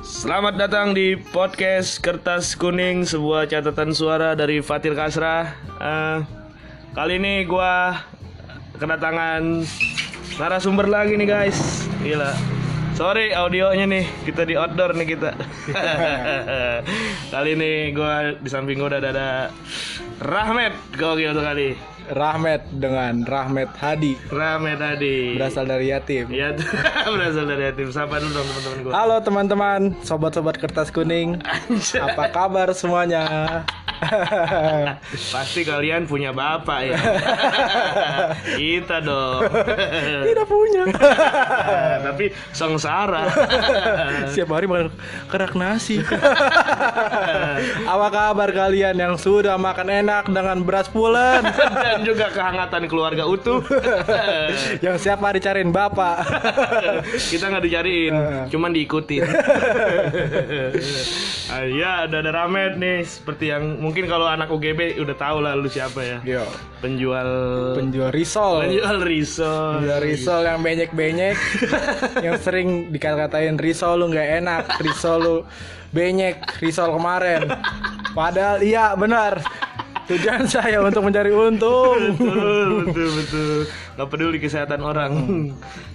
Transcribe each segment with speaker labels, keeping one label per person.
Speaker 1: Selamat datang di podcast Kertas Kuning, sebuah catatan suara dari Fatir Kasra. Eh, kali ini gua kedatangan narasumber lagi nih guys. Gila. Sorry audionya nih, kita di outdoor nih kita. kali ini gua di samping gua udah ada, ada Rahmat, gokil tuh kali.
Speaker 2: Rahmat dengan Rahmat Hadi
Speaker 1: Rahmat tadi.
Speaker 2: berasal dari Yatim.
Speaker 1: Ya, berasal dari tim. Sapa dulu dong teman-teman gua.
Speaker 2: Halo teman-teman, sobat-sobat kertas kuning.
Speaker 1: Anjay.
Speaker 2: Apa kabar semuanya?
Speaker 1: Pasti kalian punya bapak ya. Kita dong.
Speaker 2: Tidak punya.
Speaker 1: Nah, tapi sengsara.
Speaker 2: Siap hari makan kerak nasi. Apa kabar kalian yang sudah makan enak dengan beras pulen?
Speaker 1: Dan juga kehangatan keluarga utuh.
Speaker 2: yang siap hari cariin bapak.
Speaker 1: Kita nggak dicariin, cuman diikutin. Ah, Iya, ada ada Ramet nih, seperti yang mungkin kalau anak UGB udah tahu lah lu siapa ya.
Speaker 2: Yo,
Speaker 1: Penjual
Speaker 2: penjual Iya. risol.
Speaker 1: penjual risol.
Speaker 2: Penjual risol yang benyek-benyek Yang sering dikata-katain Risol lu nggak enak Risol lu benyek Risol kemarin Padahal iya benar Tujuan saya untuk mencari untung
Speaker 1: betul betul betul nggak peduli kesehatan orang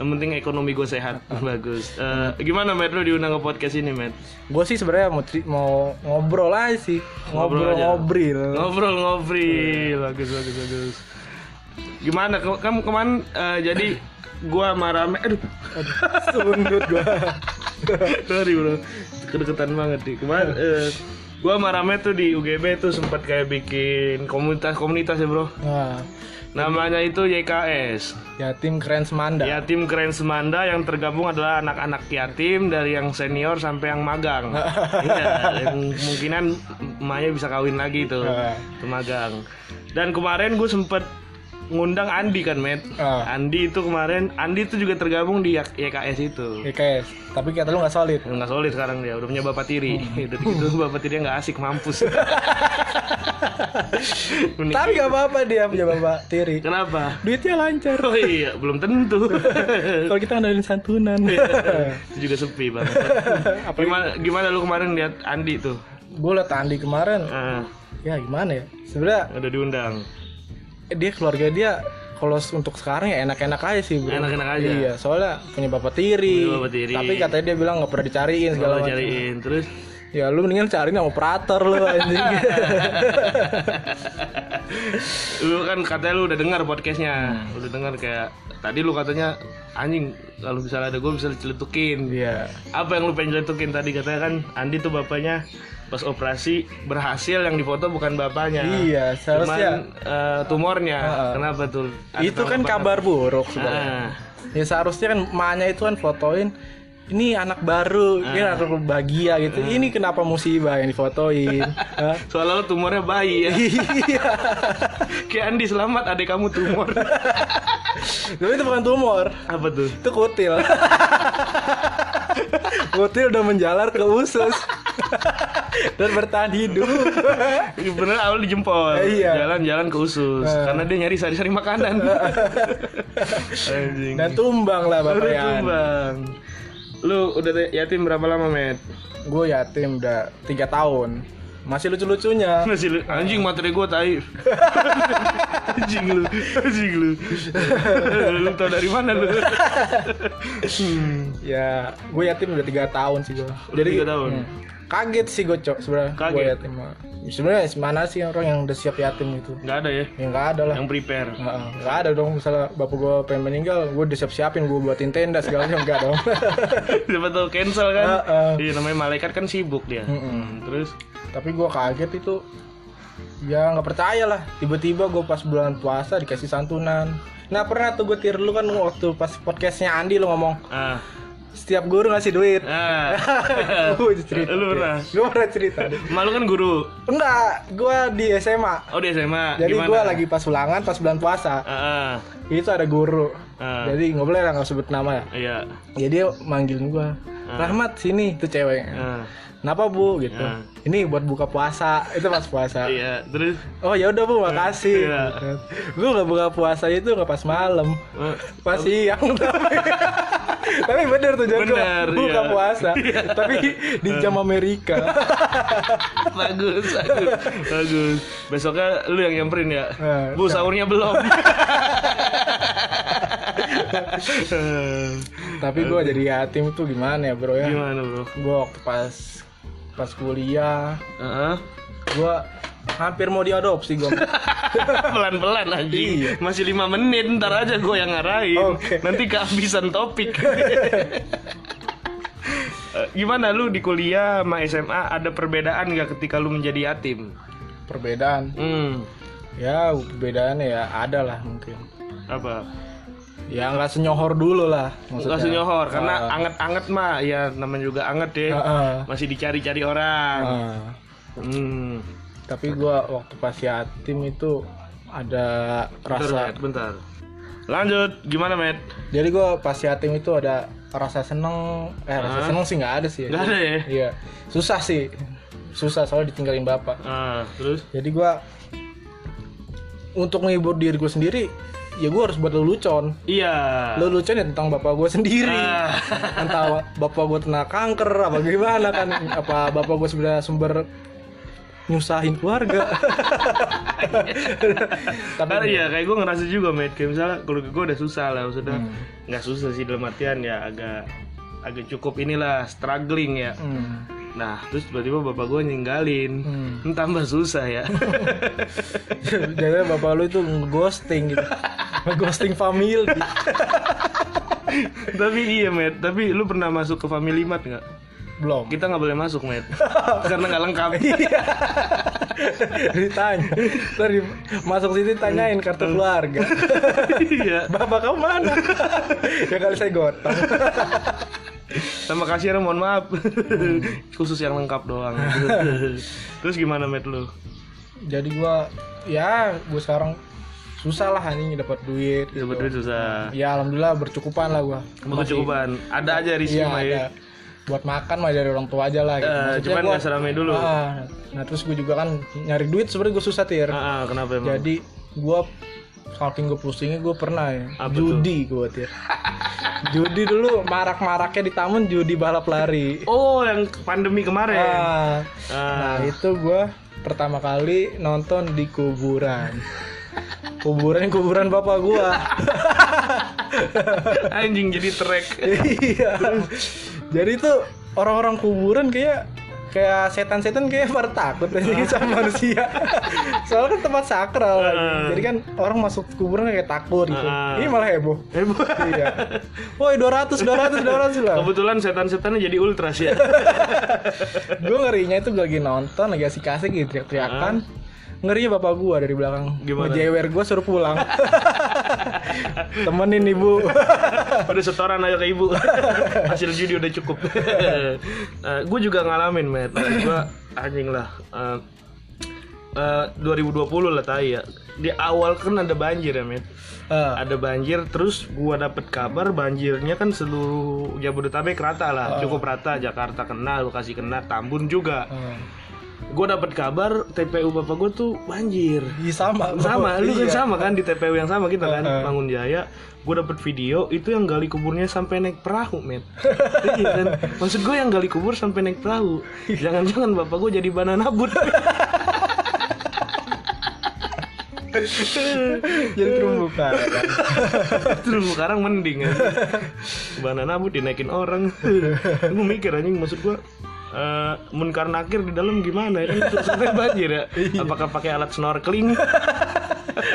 Speaker 1: yang penting ekonomi gue sehat bagus Eh, gimana Matt lu diundang ke podcast ini Matt
Speaker 2: Gue sih sebenarnya mau, tri- mau ngobrol aja sih
Speaker 1: Ngobrol aja.
Speaker 2: Ngobrol-ngobrol
Speaker 1: ngobrol ngobrol bagus bagus bagus gimana Ke- kamu kemarin eh, jadi gue sama Rame aduh
Speaker 2: Sundut gue
Speaker 1: sorry bro kedekatan banget nih kemarin eh, gue sama Rame tuh di UGB tuh sempat kayak bikin komunitas komunitas ya bro
Speaker 2: Nah
Speaker 1: namanya itu YKS
Speaker 2: Yatim keren semanda
Speaker 1: Yatim Keren Ya, Semanda yang tergabung adalah anak-anak yatim dari yang senior sampai yang magang. Iya, yang kemungkinan emaknya bisa kawin lagi tuh,
Speaker 2: Ah.
Speaker 1: ke magang. Dan kemarin gue sempet ngundang Andi kan, Matt.
Speaker 2: Ah.
Speaker 1: Andi itu kemarin, Andi itu juga tergabung di Y- YKS itu.
Speaker 2: YKS Tapi kata lu nggak solid
Speaker 1: Nggak solid sekarang dia, udah punya bapak tiri. udah gitu bapak tirinya nggak asik, mampus. Menik-
Speaker 2: Tapi gak apa-apa dia punya bapak tiri
Speaker 1: Kenapa?
Speaker 2: Duitnya lancar
Speaker 1: Oh iya, belum tentu.
Speaker 2: Kalau kita ngandalin santunan
Speaker 1: itu juga sepi banget. gimana gimana lu kemarin lihat Andi tuh?
Speaker 2: Gue liat Andi kemarin
Speaker 1: Ah,
Speaker 2: ya gimana ya sebenarnya
Speaker 1: Eh, udah diundang.
Speaker 2: dia keluarga dia kalau s- untuk sekarang ya enak-enak aja sih bro
Speaker 1: Enak-enak aja.
Speaker 2: iya soalnya punya bapak tiri,
Speaker 1: Punya bapak tiri. Oh,
Speaker 2: tapi katanya dia bilang nggak pernah dicariin segala
Speaker 1: Kalau
Speaker 2: macam
Speaker 1: cariin terus
Speaker 2: ya lu mendingan cariin sama operator lu anjing
Speaker 1: lu kan katanya lu udah dengar podcastnya udah dengar kayak tadi lu katanya anjing kalau misalnya ada gue bisa celetukin
Speaker 2: iya
Speaker 1: apa yang lu pengen celetukin tadi katanya kan Andi tuh bapaknya pas operasi berhasil yang difoto bukan bapaknya
Speaker 2: iya seharusnya
Speaker 1: cuman eh, tumornya
Speaker 2: Heeh.
Speaker 1: kenapa tuh Ada
Speaker 2: itu kan
Speaker 1: tanggapan?
Speaker 2: kabar buruk sebenarnya
Speaker 1: Ah.
Speaker 2: ya seharusnya kan emaknya itu kan fotoin ini anak baru, ini
Speaker 1: Ah.
Speaker 2: anak bahagia gitu. Ini kenapa musibah yang difotoin? Hah?
Speaker 1: Soalnya lu tumornya bayi ya.
Speaker 2: Iya.
Speaker 1: Kayak Andi selamat adik kamu tumor.
Speaker 2: Tapi itu bukan tumor.
Speaker 1: Apa tuh?
Speaker 2: itu kutil kutil udah menjalar ke usus dan bertahan hidup
Speaker 1: Iya, Bener awal di jempol.
Speaker 2: Iya. Eh.
Speaker 1: Jalan-jalan ke usus karena dia nyari sari-sari makanan. Anjing.
Speaker 2: dan tumbang lah
Speaker 1: Baru
Speaker 2: bapak Yan
Speaker 1: tumbang. Lu udah te- yatim berapa lama, Met?
Speaker 2: gue yatim udah tiga tahun masih lucu-lucunya
Speaker 1: Masih lu- anjing materi gua tai. anjing lu, anjing lu. lu tau dari mana lu?
Speaker 2: ya gue yatim udah tiga tahun sih gue
Speaker 1: Jadi Hmm. tiga tahun.
Speaker 2: hmm, kaget sih gue cok sebenarnya
Speaker 1: Kaget.
Speaker 2: gue yatim mah. sebenarnya mana sih orang yang udah siap yatim gitu
Speaker 1: Nggak ada ya
Speaker 2: ya nggak ada lah
Speaker 1: yang prepare.
Speaker 2: Heeh, nggak ada dong misalnya bapak gue pengen meninggal gue udah siap-siapin gue buatin tenda segala macam nggak dong
Speaker 1: Siapa tahu cancel kan?
Speaker 2: Heeh.
Speaker 1: Iya namanya malaikat kan sibuk dia. Hmm, Terus
Speaker 2: tapi gue kaget itu ya nggak percaya lah tiba-tiba gue pas bulan puasa dikasih santunan nah pernah tuh gue tir lu kan waktu pas podcastnya Andi lu ngomong
Speaker 1: ah
Speaker 2: setiap guru ngasih duit
Speaker 1: ah
Speaker 2: Gua cerita
Speaker 1: Lu pernah?
Speaker 2: gue pernah cerita
Speaker 1: malu kan guru.
Speaker 2: enggak gue di SMA
Speaker 1: Oh di SMA.
Speaker 2: jadi
Speaker 1: Gimana?
Speaker 2: gue lagi pas ulangan pas bulan puasa
Speaker 1: Ah, ah.
Speaker 2: itu ada guru
Speaker 1: Ah.
Speaker 2: jadi nggak boleh lah nggak sebut nama ya
Speaker 1: Iya.
Speaker 2: jadi dia manggil gue Rahmat sini tuh cewek
Speaker 1: Ah,
Speaker 2: kenapa bu gitu
Speaker 1: Ah.
Speaker 2: ini buat buka puasa itu pas puasa
Speaker 1: iya. Terus
Speaker 2: Oh ya udah bu makasih.
Speaker 1: Iya.
Speaker 2: Gue nggak buka puasa itu nggak pas malam,
Speaker 1: eh,
Speaker 2: pas siang. tapi. Tapi bener tuh jago.
Speaker 1: Bener,
Speaker 2: Buka
Speaker 1: iya.
Speaker 2: puasa. Tapi di jam Amerika.
Speaker 1: bagus, bagus, bagus. Besoknya lu yang nyamperin ya.
Speaker 2: Eh,
Speaker 1: Bu sahurnya belum.
Speaker 2: Tapi gua jadi yatim tuh gimana ya bro ya?
Speaker 1: Eh, Gimana bro?
Speaker 2: Gua waktu pas pas kuliah,
Speaker 1: Heeh.
Speaker 2: gua hampir mau diadopsi gua.
Speaker 1: Pelan-pelan anjing.
Speaker 2: Iya.
Speaker 1: Masih lima menit, ntar aja gue yang ngarahin.
Speaker 2: Oke.
Speaker 1: Nanti kehabisan topik. Eh, Gimana lu di kuliah sama SMA ada perbedaan gak ketika lu menjadi yatim?
Speaker 2: Perbedaan.
Speaker 1: Hmm,
Speaker 2: Ya perbedaannya ya ada lah mungkin.
Speaker 1: apa?
Speaker 2: Ya nggak senyohor dulu lah maksudnya.
Speaker 1: Nggak senyohor, iya. karena
Speaker 2: Ah,
Speaker 1: anget-anget mah ya namanya juga anget deh.
Speaker 2: ah, ah,
Speaker 1: Masih dicari-cari orang.
Speaker 2: ah.
Speaker 1: Hmm.
Speaker 2: Tapi gua waktu pas yatim itu ada
Speaker 1: Bentar,
Speaker 2: rasa.
Speaker 1: Matt, bentar. Lanjut, gimana, Matt?
Speaker 2: Jadi gua pas yatim itu ada rasa seneng. Eh
Speaker 1: Ah.
Speaker 2: rasa seneng sih nggak ada sih.
Speaker 1: Gak ada ya?
Speaker 2: Iya. Susah sih. Susah soalnya ditinggalin bapak.
Speaker 1: Ah, terus?
Speaker 2: Jadi gua untuk menghibur diri gue sendiri, ya gua harus buat lelucon.
Speaker 1: Iya.
Speaker 2: Lelucon ya tentang bapak gue sendiri.
Speaker 1: Ah.
Speaker 2: Entah bapak gue kena kanker apa gimana kan? Apa bapak gue sebenarnya sumber nyusahin keluarga? Tapi
Speaker 1: Karena iya, kayak gue ngerasa juga, Matt. Kayak misalnya keluarga gue udah susah lah, maksudnya.
Speaker 2: Hmm.
Speaker 1: Nggak susah sih dalam artian ya agak agak cukup inilah struggling ya.
Speaker 2: Hmm,
Speaker 1: Nah, terus tiba-tiba bapak gue ninggalin.
Speaker 2: hmm.
Speaker 1: Hmm, Tambah susah ya.
Speaker 2: Jadi bapak lu itu ghosting gitu. ghosting family.
Speaker 1: tapi iya, Matt. Tapi lu pernah masuk ke Family Mart nggak?
Speaker 2: Belum.
Speaker 1: Kita nggak boleh masuk, Matt. Karena nggak lengkap.
Speaker 2: Iya, ditanya tadi masuk sini tanyain kartu keluarga
Speaker 1: Iya.
Speaker 2: bapak kamu mana ya kali saya gotong
Speaker 1: Sama kasir mohon maaf. Khusus yang lengkap doang. Terus gimana met lu?
Speaker 2: jadi gua ya gua sekarang susah lah anjing dapat duit
Speaker 1: Ya
Speaker 2: gitu.
Speaker 1: betul susah.
Speaker 2: ya alhamdulillah bercukupan lah gua
Speaker 1: Kecukupan. Ada aja di sini
Speaker 2: iya ada buat makan mah dari orang tua aja lah
Speaker 1: ya.
Speaker 2: gitu.
Speaker 1: Eh,
Speaker 2: Maksudnya
Speaker 1: cuman
Speaker 2: gua-
Speaker 1: nggak seramai dulu.
Speaker 2: Ah, nah terus gue juga kan nyari duit sebenarnya gue susah tir
Speaker 1: Ah, ah, kenapa emang?
Speaker 2: jadi gua saking gue pusingnya gue pernah ya
Speaker 1: Apa tuh?
Speaker 2: judi gue tir judi dulu marak-maraknya di taman judi balap lari
Speaker 1: Oh, yang pandemi kemarin.
Speaker 2: ah,
Speaker 1: Ah,
Speaker 2: nah itu gua pertama kali nonton di kuburan kuburan kuburan bapak gua
Speaker 1: Ah, anjing jadi track.
Speaker 2: iya jadi tuh orang-orang kuburan kayak kayak setan-setan kayak pada takut aja sama manusia soalnya kan tempat sakral
Speaker 1: Ah.
Speaker 2: jadi kan orang masuk kuburan kayak takut gitu
Speaker 1: Ah.
Speaker 2: ini malah heboh
Speaker 1: Heboh.
Speaker 2: iya woi 200 200 200 lah
Speaker 1: Kebetulan setan-setannya jadi ultras ya.
Speaker 2: gue ngerinya itu gue lagi nonton lagi asik-asik gitu teriak-teriakan ngerinya bapak gua dari belakang
Speaker 1: Ah. Gimana?
Speaker 2: ngejewer gua suruh pulang temenin ibu
Speaker 1: Udah setoran ayo ke ibu. Hasil judi udah cukup. gue juga ngalamin, Matt. Gue anjing lah. Eh, eh, 2020 lah tai ya. Di awal kan ada banjir ya, Matt.
Speaker 2: Eh,
Speaker 1: Ada banjir terus gua dapet kabar banjirnya kan seluruh Jabodetabek rata lah, cukup rata. Jakarta kena, Bekasi kena, Tambun juga.
Speaker 2: eh,
Speaker 1: Gua dapet kabar TPU bapak gua tuh banjir
Speaker 2: iya sama
Speaker 1: sama lu kan
Speaker 2: Iya.
Speaker 1: sama kan di TPU yang sama kita kan
Speaker 2: Heeh.
Speaker 1: bangun jaya gue dapet video itu yang gali kuburnya sampai naik perahu men iya kan maksud gue yang gali kubur sampai naik perahu jangan-jangan bapak gue jadi banana boat
Speaker 2: jadi terumbu karang
Speaker 1: terus sekarang mending kan banana boat dinaikin orang gue mikir anjing maksud gue eh munkar nakir di dalam gimana ya kan susahnya banjir ya
Speaker 2: Iya.
Speaker 1: apakah pakai alat snorkeling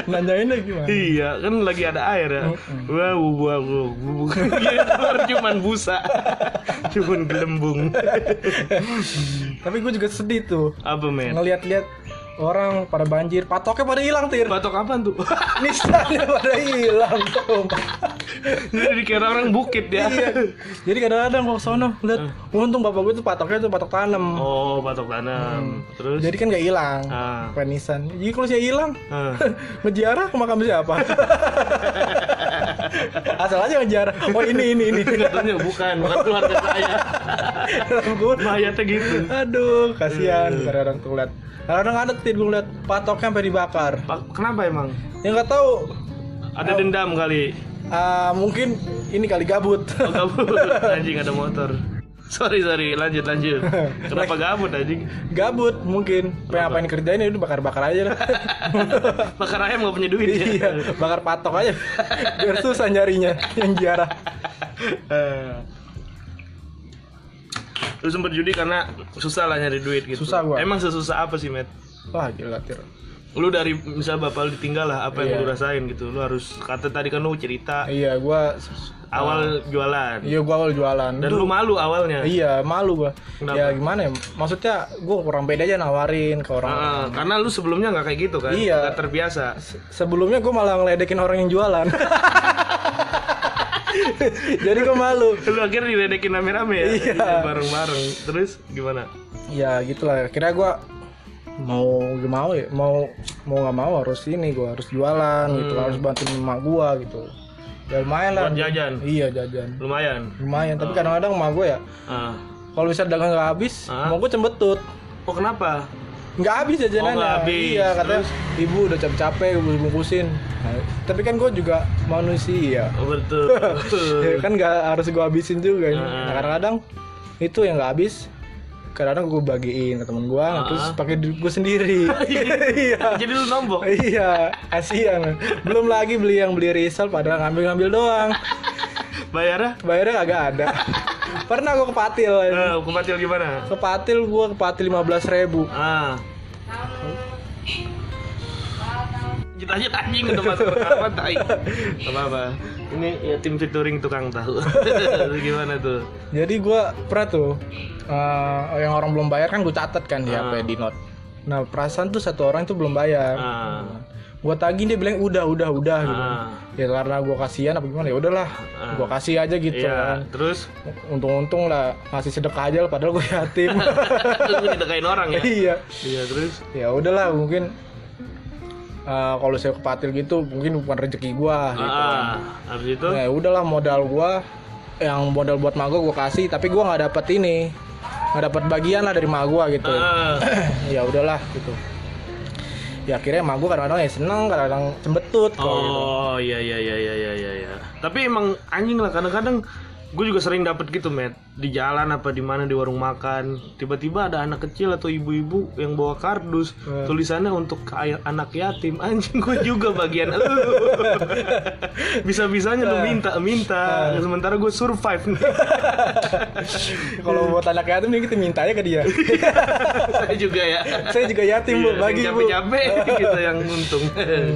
Speaker 2: nanyain lagi gimana
Speaker 1: Iya, kan lagi ada air ya. Wah, wah, wah, wah. Iya, keluar cuman busa. cuman gelembung.
Speaker 2: tapi gue juga sedih tuh
Speaker 1: Apa, men?
Speaker 2: ngeliat-liat orang pada banjir patoknya pada hilang tir
Speaker 1: Batok apaan tuh?
Speaker 2: nisannya pada hilang tuh
Speaker 1: Jadi dikira orang bukit ya.
Speaker 2: Iya. jadi kadang-kadang gua ke sono lihat untung bapak gue tuh patoknya tuh patok tanam
Speaker 1: Ah. Oh, batok tanam. Terus?
Speaker 2: jadi kan gak hilang
Speaker 1: Ah.
Speaker 2: penisan jadi kalau saya hilang
Speaker 1: Ah.
Speaker 2: ngejarah ke makam siapa asal aja ngejarah oh ini ini ini
Speaker 1: Katanya bukan, bukan keluarga saya.
Speaker 2: dalam kubur
Speaker 1: Mayatnya gitu.
Speaker 2: aduh kasihan kadang-kadang tuh liat kadang-kadang ada tir gue liat patoknya sampai dibakar
Speaker 1: Pak, Kenapa emang?
Speaker 2: yang nggak tahu
Speaker 1: Ada dendam kali.
Speaker 2: Ah, mungkin ini kali gabut.
Speaker 1: Oh, gabut. anjing ada motor. Sorry sorry, lanjut lanjut. Kenapa gabut anjing?
Speaker 2: gabut mungkin. Pengen apain kerjain ya udah bakar-bakar aja lah.
Speaker 1: Bakar ayam nggak punya duit ya.
Speaker 2: iya, bakar patok aja. Biar susah nyarinya yang jarah.
Speaker 1: Eh. Terus sempet judi karena susah lah nyari duit gitu.
Speaker 2: Susah gua.
Speaker 1: Emang sesusah apa sih, Matt?
Speaker 2: Wah, gila tir.
Speaker 1: Lu dari misal bapak lu ditinggal lah, apa yang
Speaker 2: Iya.
Speaker 1: lu rasain gitu? Lu harus kata tadi kan lu cerita
Speaker 2: Iya, gua
Speaker 1: awal jualan.
Speaker 2: iya gua awal jualan.
Speaker 1: Dan lu malu awalnya.
Speaker 2: Iya, malu gua.
Speaker 1: ya? Kenapa?
Speaker 2: Ya gimana ya? Maksudnya gua kurang beda aja nawarin ke orang.
Speaker 1: Ah, karena lu sebelumnya nggak kayak gitu kan?
Speaker 2: Iya.
Speaker 1: Nggak terbiasa.
Speaker 2: Sebelumnya gua malah ngeledekin orang yang jualan. Jadi gua malu.
Speaker 1: Lu akhirnya diledekin rame-rame ya?
Speaker 2: Iya.
Speaker 1: Bareng-bareng. Terus gimana?
Speaker 2: Ya gitulah. Kira gua mau gimana ya? Mau mau nggak mau harus ini gua harus jualan gitu, harus bantuin emak gua gitu. Ya lumayan lah.
Speaker 1: Hmm. Buat jajan. Ah.
Speaker 2: Iya jajan.
Speaker 1: Lumayan.
Speaker 2: Lumayan, tapi kadang-kadang emak gua ya
Speaker 1: Ah.
Speaker 2: kalau bisa dagang nggak habis,
Speaker 1: Ah.
Speaker 2: mau gua cembetut.
Speaker 1: Oh kenapa?
Speaker 2: nggak habis
Speaker 1: Oh,
Speaker 2: jajanannya
Speaker 1: nggak habis.
Speaker 2: iya katanya ibu udah capek-capek gue bungkusin Nah, tapi kan gue juga manusia
Speaker 1: Oh, betul.
Speaker 2: ya kan nggak harus gue habisin juga ini.
Speaker 1: Ah.
Speaker 2: Nah, kadang-kadang itu yang nggak habis kadang-kadang gue bagiin ke temen gue nah, terus pakai duit gue sendiri iya
Speaker 1: Jadi lu nombok.
Speaker 2: iya kasihan belum lagi beli yang beli risol padahal ngambil-ngambil doang
Speaker 1: Bayarnya?
Speaker 2: bayarnya kagak ada pernah gue ke patil
Speaker 1: ah? Eh, hukum patil gimana?
Speaker 2: ke patil gue ke patil lima ribu
Speaker 1: Ah. Lanjut lanjut anjing udah masuk apa tai. Gak apa-apa. Ini ya tim featuring tukang tahu. Terus gimana tuh?
Speaker 2: Jadi gua pernah tuh eh, yang orang belum bayar kan gue catat kan di
Speaker 1: Ah.
Speaker 2: HP di note. Nah perasaan tuh satu orang tuh belum bayar.
Speaker 1: Ah.
Speaker 2: Gua tagih dia bilang udah udah udah gitu.
Speaker 1: Ah.
Speaker 2: Ya karena gua kasihan apa gimana ya udahlah,
Speaker 1: Ah.
Speaker 2: gua kasih aja gitu.
Speaker 1: Iya, terus
Speaker 2: Untung-untung lah ngasih sedekah aja lah, padahal gue yatim.
Speaker 1: terus lu didekain orang ya.
Speaker 2: iya.
Speaker 1: Iya, terus
Speaker 2: Ya udahlah mungkin eh, kalau saya kepatil gitu mungkin bukan rezeki gua gitu.
Speaker 1: ah, habis itu
Speaker 2: Nah, ya udahlah modal gua yang modal buat mak gua gua kasih tapi gua nggak dapet ini nggak dapet bagian lah dari mak gua gitu
Speaker 1: ah,
Speaker 2: ya udahlah gitu ya akhirnya mak gua kadang-kadang ya seneng kadang-kadang cembetut kalau gitu.
Speaker 1: Oh iya iya iya iya iya iya. iya. Tapi emang anjing lah kadang-kadang gue juga sering dapet gitu met di jalan apa di mana di warung makan tiba-tiba ada anak kecil atau ibu-ibu yang bawa kardus tulisannya untuk ke ay- anak yatim anjing gue juga bagian lu bisa-bisanya lu minta minta sementara gue survive nih
Speaker 2: kalau buat anak yatim nih kita minta aja ke dia
Speaker 1: saya juga ya
Speaker 2: saya juga yatim bu
Speaker 1: Iya,
Speaker 2: bagi
Speaker 1: yang
Speaker 2: bu
Speaker 1: capek-capek kita yang untung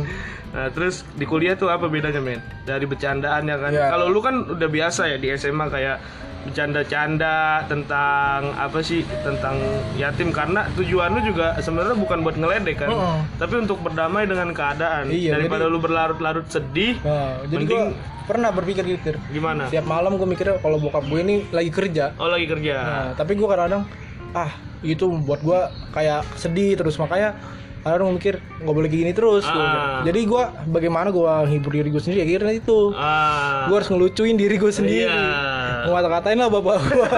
Speaker 1: nah terus di kuliah tuh apa bedanya men dari bercandaan ya kan
Speaker 2: Iya.
Speaker 1: kalau lu kan udah biasa ya di SMA kayak bercanda-canda tentang apa sih tentang yatim karena tujuan lu juga sebenarnya bukan buat ngeledek kan
Speaker 2: Heeh.
Speaker 1: tapi untuk berdamai dengan keadaan
Speaker 2: Iya,
Speaker 1: daripada lu berlarut-larut sedih
Speaker 2: nah, jadi gua
Speaker 1: Mending-
Speaker 2: pernah berpikir gitu Tir.
Speaker 1: gimana
Speaker 2: tiap malam gua mikir kalau bokap gue ini lagi kerja
Speaker 1: oh lagi kerja
Speaker 2: Nah, tapi gue kadang-kadang ah itu buat gue kayak sedih terus makanya kadang mikir nggak boleh kayak gini terus gua bilang.
Speaker 1: Ah.
Speaker 2: jadi gue bagaimana gue hibur diri gue sendiri akhirnya itu
Speaker 1: ah
Speaker 2: gue harus ngelucuin diri gue sendiri
Speaker 1: iya
Speaker 2: ngata-ngatain lah bapak gue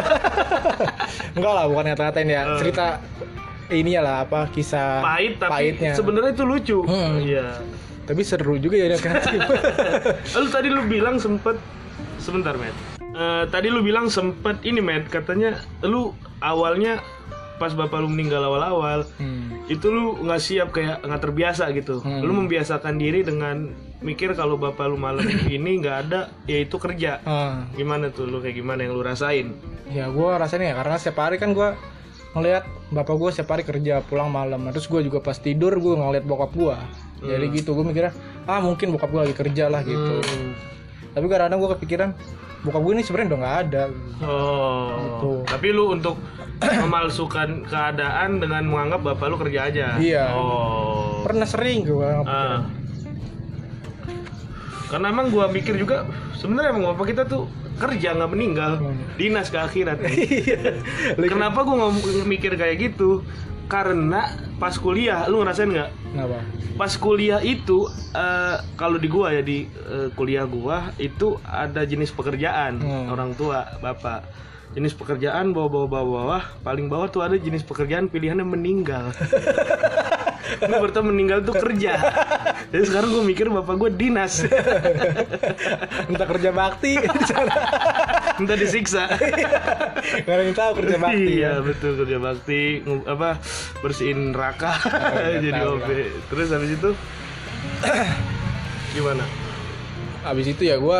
Speaker 2: enggak lah bukan ngata-ngatain ya cerita ininya lah apa kisah
Speaker 1: Ah. pahit tapi
Speaker 2: pahitnya
Speaker 1: sebenarnya itu lucu
Speaker 2: Hmm.
Speaker 1: iya
Speaker 2: tapi seru juga ya kreatif
Speaker 1: Lu tadi lu bilang sempet sebentar, Matt. Eh, tadi lu bilang sempet ini, Matt, katanya lu awalnya pas bapak lu meninggal awal-awal
Speaker 2: Hmm.
Speaker 1: itu lu nggak siap kayak nggak terbiasa gitu. Lu membiasakan diri dengan mikir kalau bapak lu malam ini nggak ada, ya itu kerja.
Speaker 2: Ah.
Speaker 1: Gimana tuh lu kayak gimana yang lu rasain?
Speaker 2: ya gue rasanya ya karena setiap hari kan gue ngelihat bapak gue setiap hari kerja pulang malam Nah, terus gue juga pas tidur gue ngeliat bokap gue jadi gitu gue mikirnya ah mungkin bokap gue lagi kerja lah gitu
Speaker 1: Hmm.
Speaker 2: tapi kadang-kadang gue kepikiran bokap gue ini sebenarnya udah nggak ada
Speaker 1: Oh,
Speaker 2: Gitu.
Speaker 1: tapi lu untuk memalsukan keadaan dengan menganggap bapak lu kerja aja.
Speaker 2: Iya.
Speaker 1: Oh.
Speaker 2: pernah sering gue
Speaker 1: Ah. Karena emang gua mikir juga sebenarnya emang bapak kita tuh kerja nggak meninggal, dinas ke akhirat. Kenapa gua ngom- mikir kayak gitu? Karena pas kuliah lu ngerasain nggak?
Speaker 2: kenapa
Speaker 1: Pas kuliah itu eh, kalau di gua ya di eh, kuliah gua itu ada jenis pekerjaan
Speaker 2: Hmm.
Speaker 1: orang tua, bapak. Jenis pekerjaan bawah bawah bawah bawah paling bawah tuh ada jenis pekerjaan pilihannya meninggal. Lu berarti meninggal tuh kerja. Jadi sekarang gue mikir bapak gue dinas.
Speaker 2: Entah kerja bakti di sana.
Speaker 1: Entah disiksa.
Speaker 2: Gak ada yang tahu kerja bakti.
Speaker 1: iya
Speaker 2: ya.
Speaker 1: betul kerja bakti ngu- apa bersihin neraka jadi
Speaker 2: Oh, iya, tahu,
Speaker 1: OB terus habis itu gimana
Speaker 2: Abis itu ya gue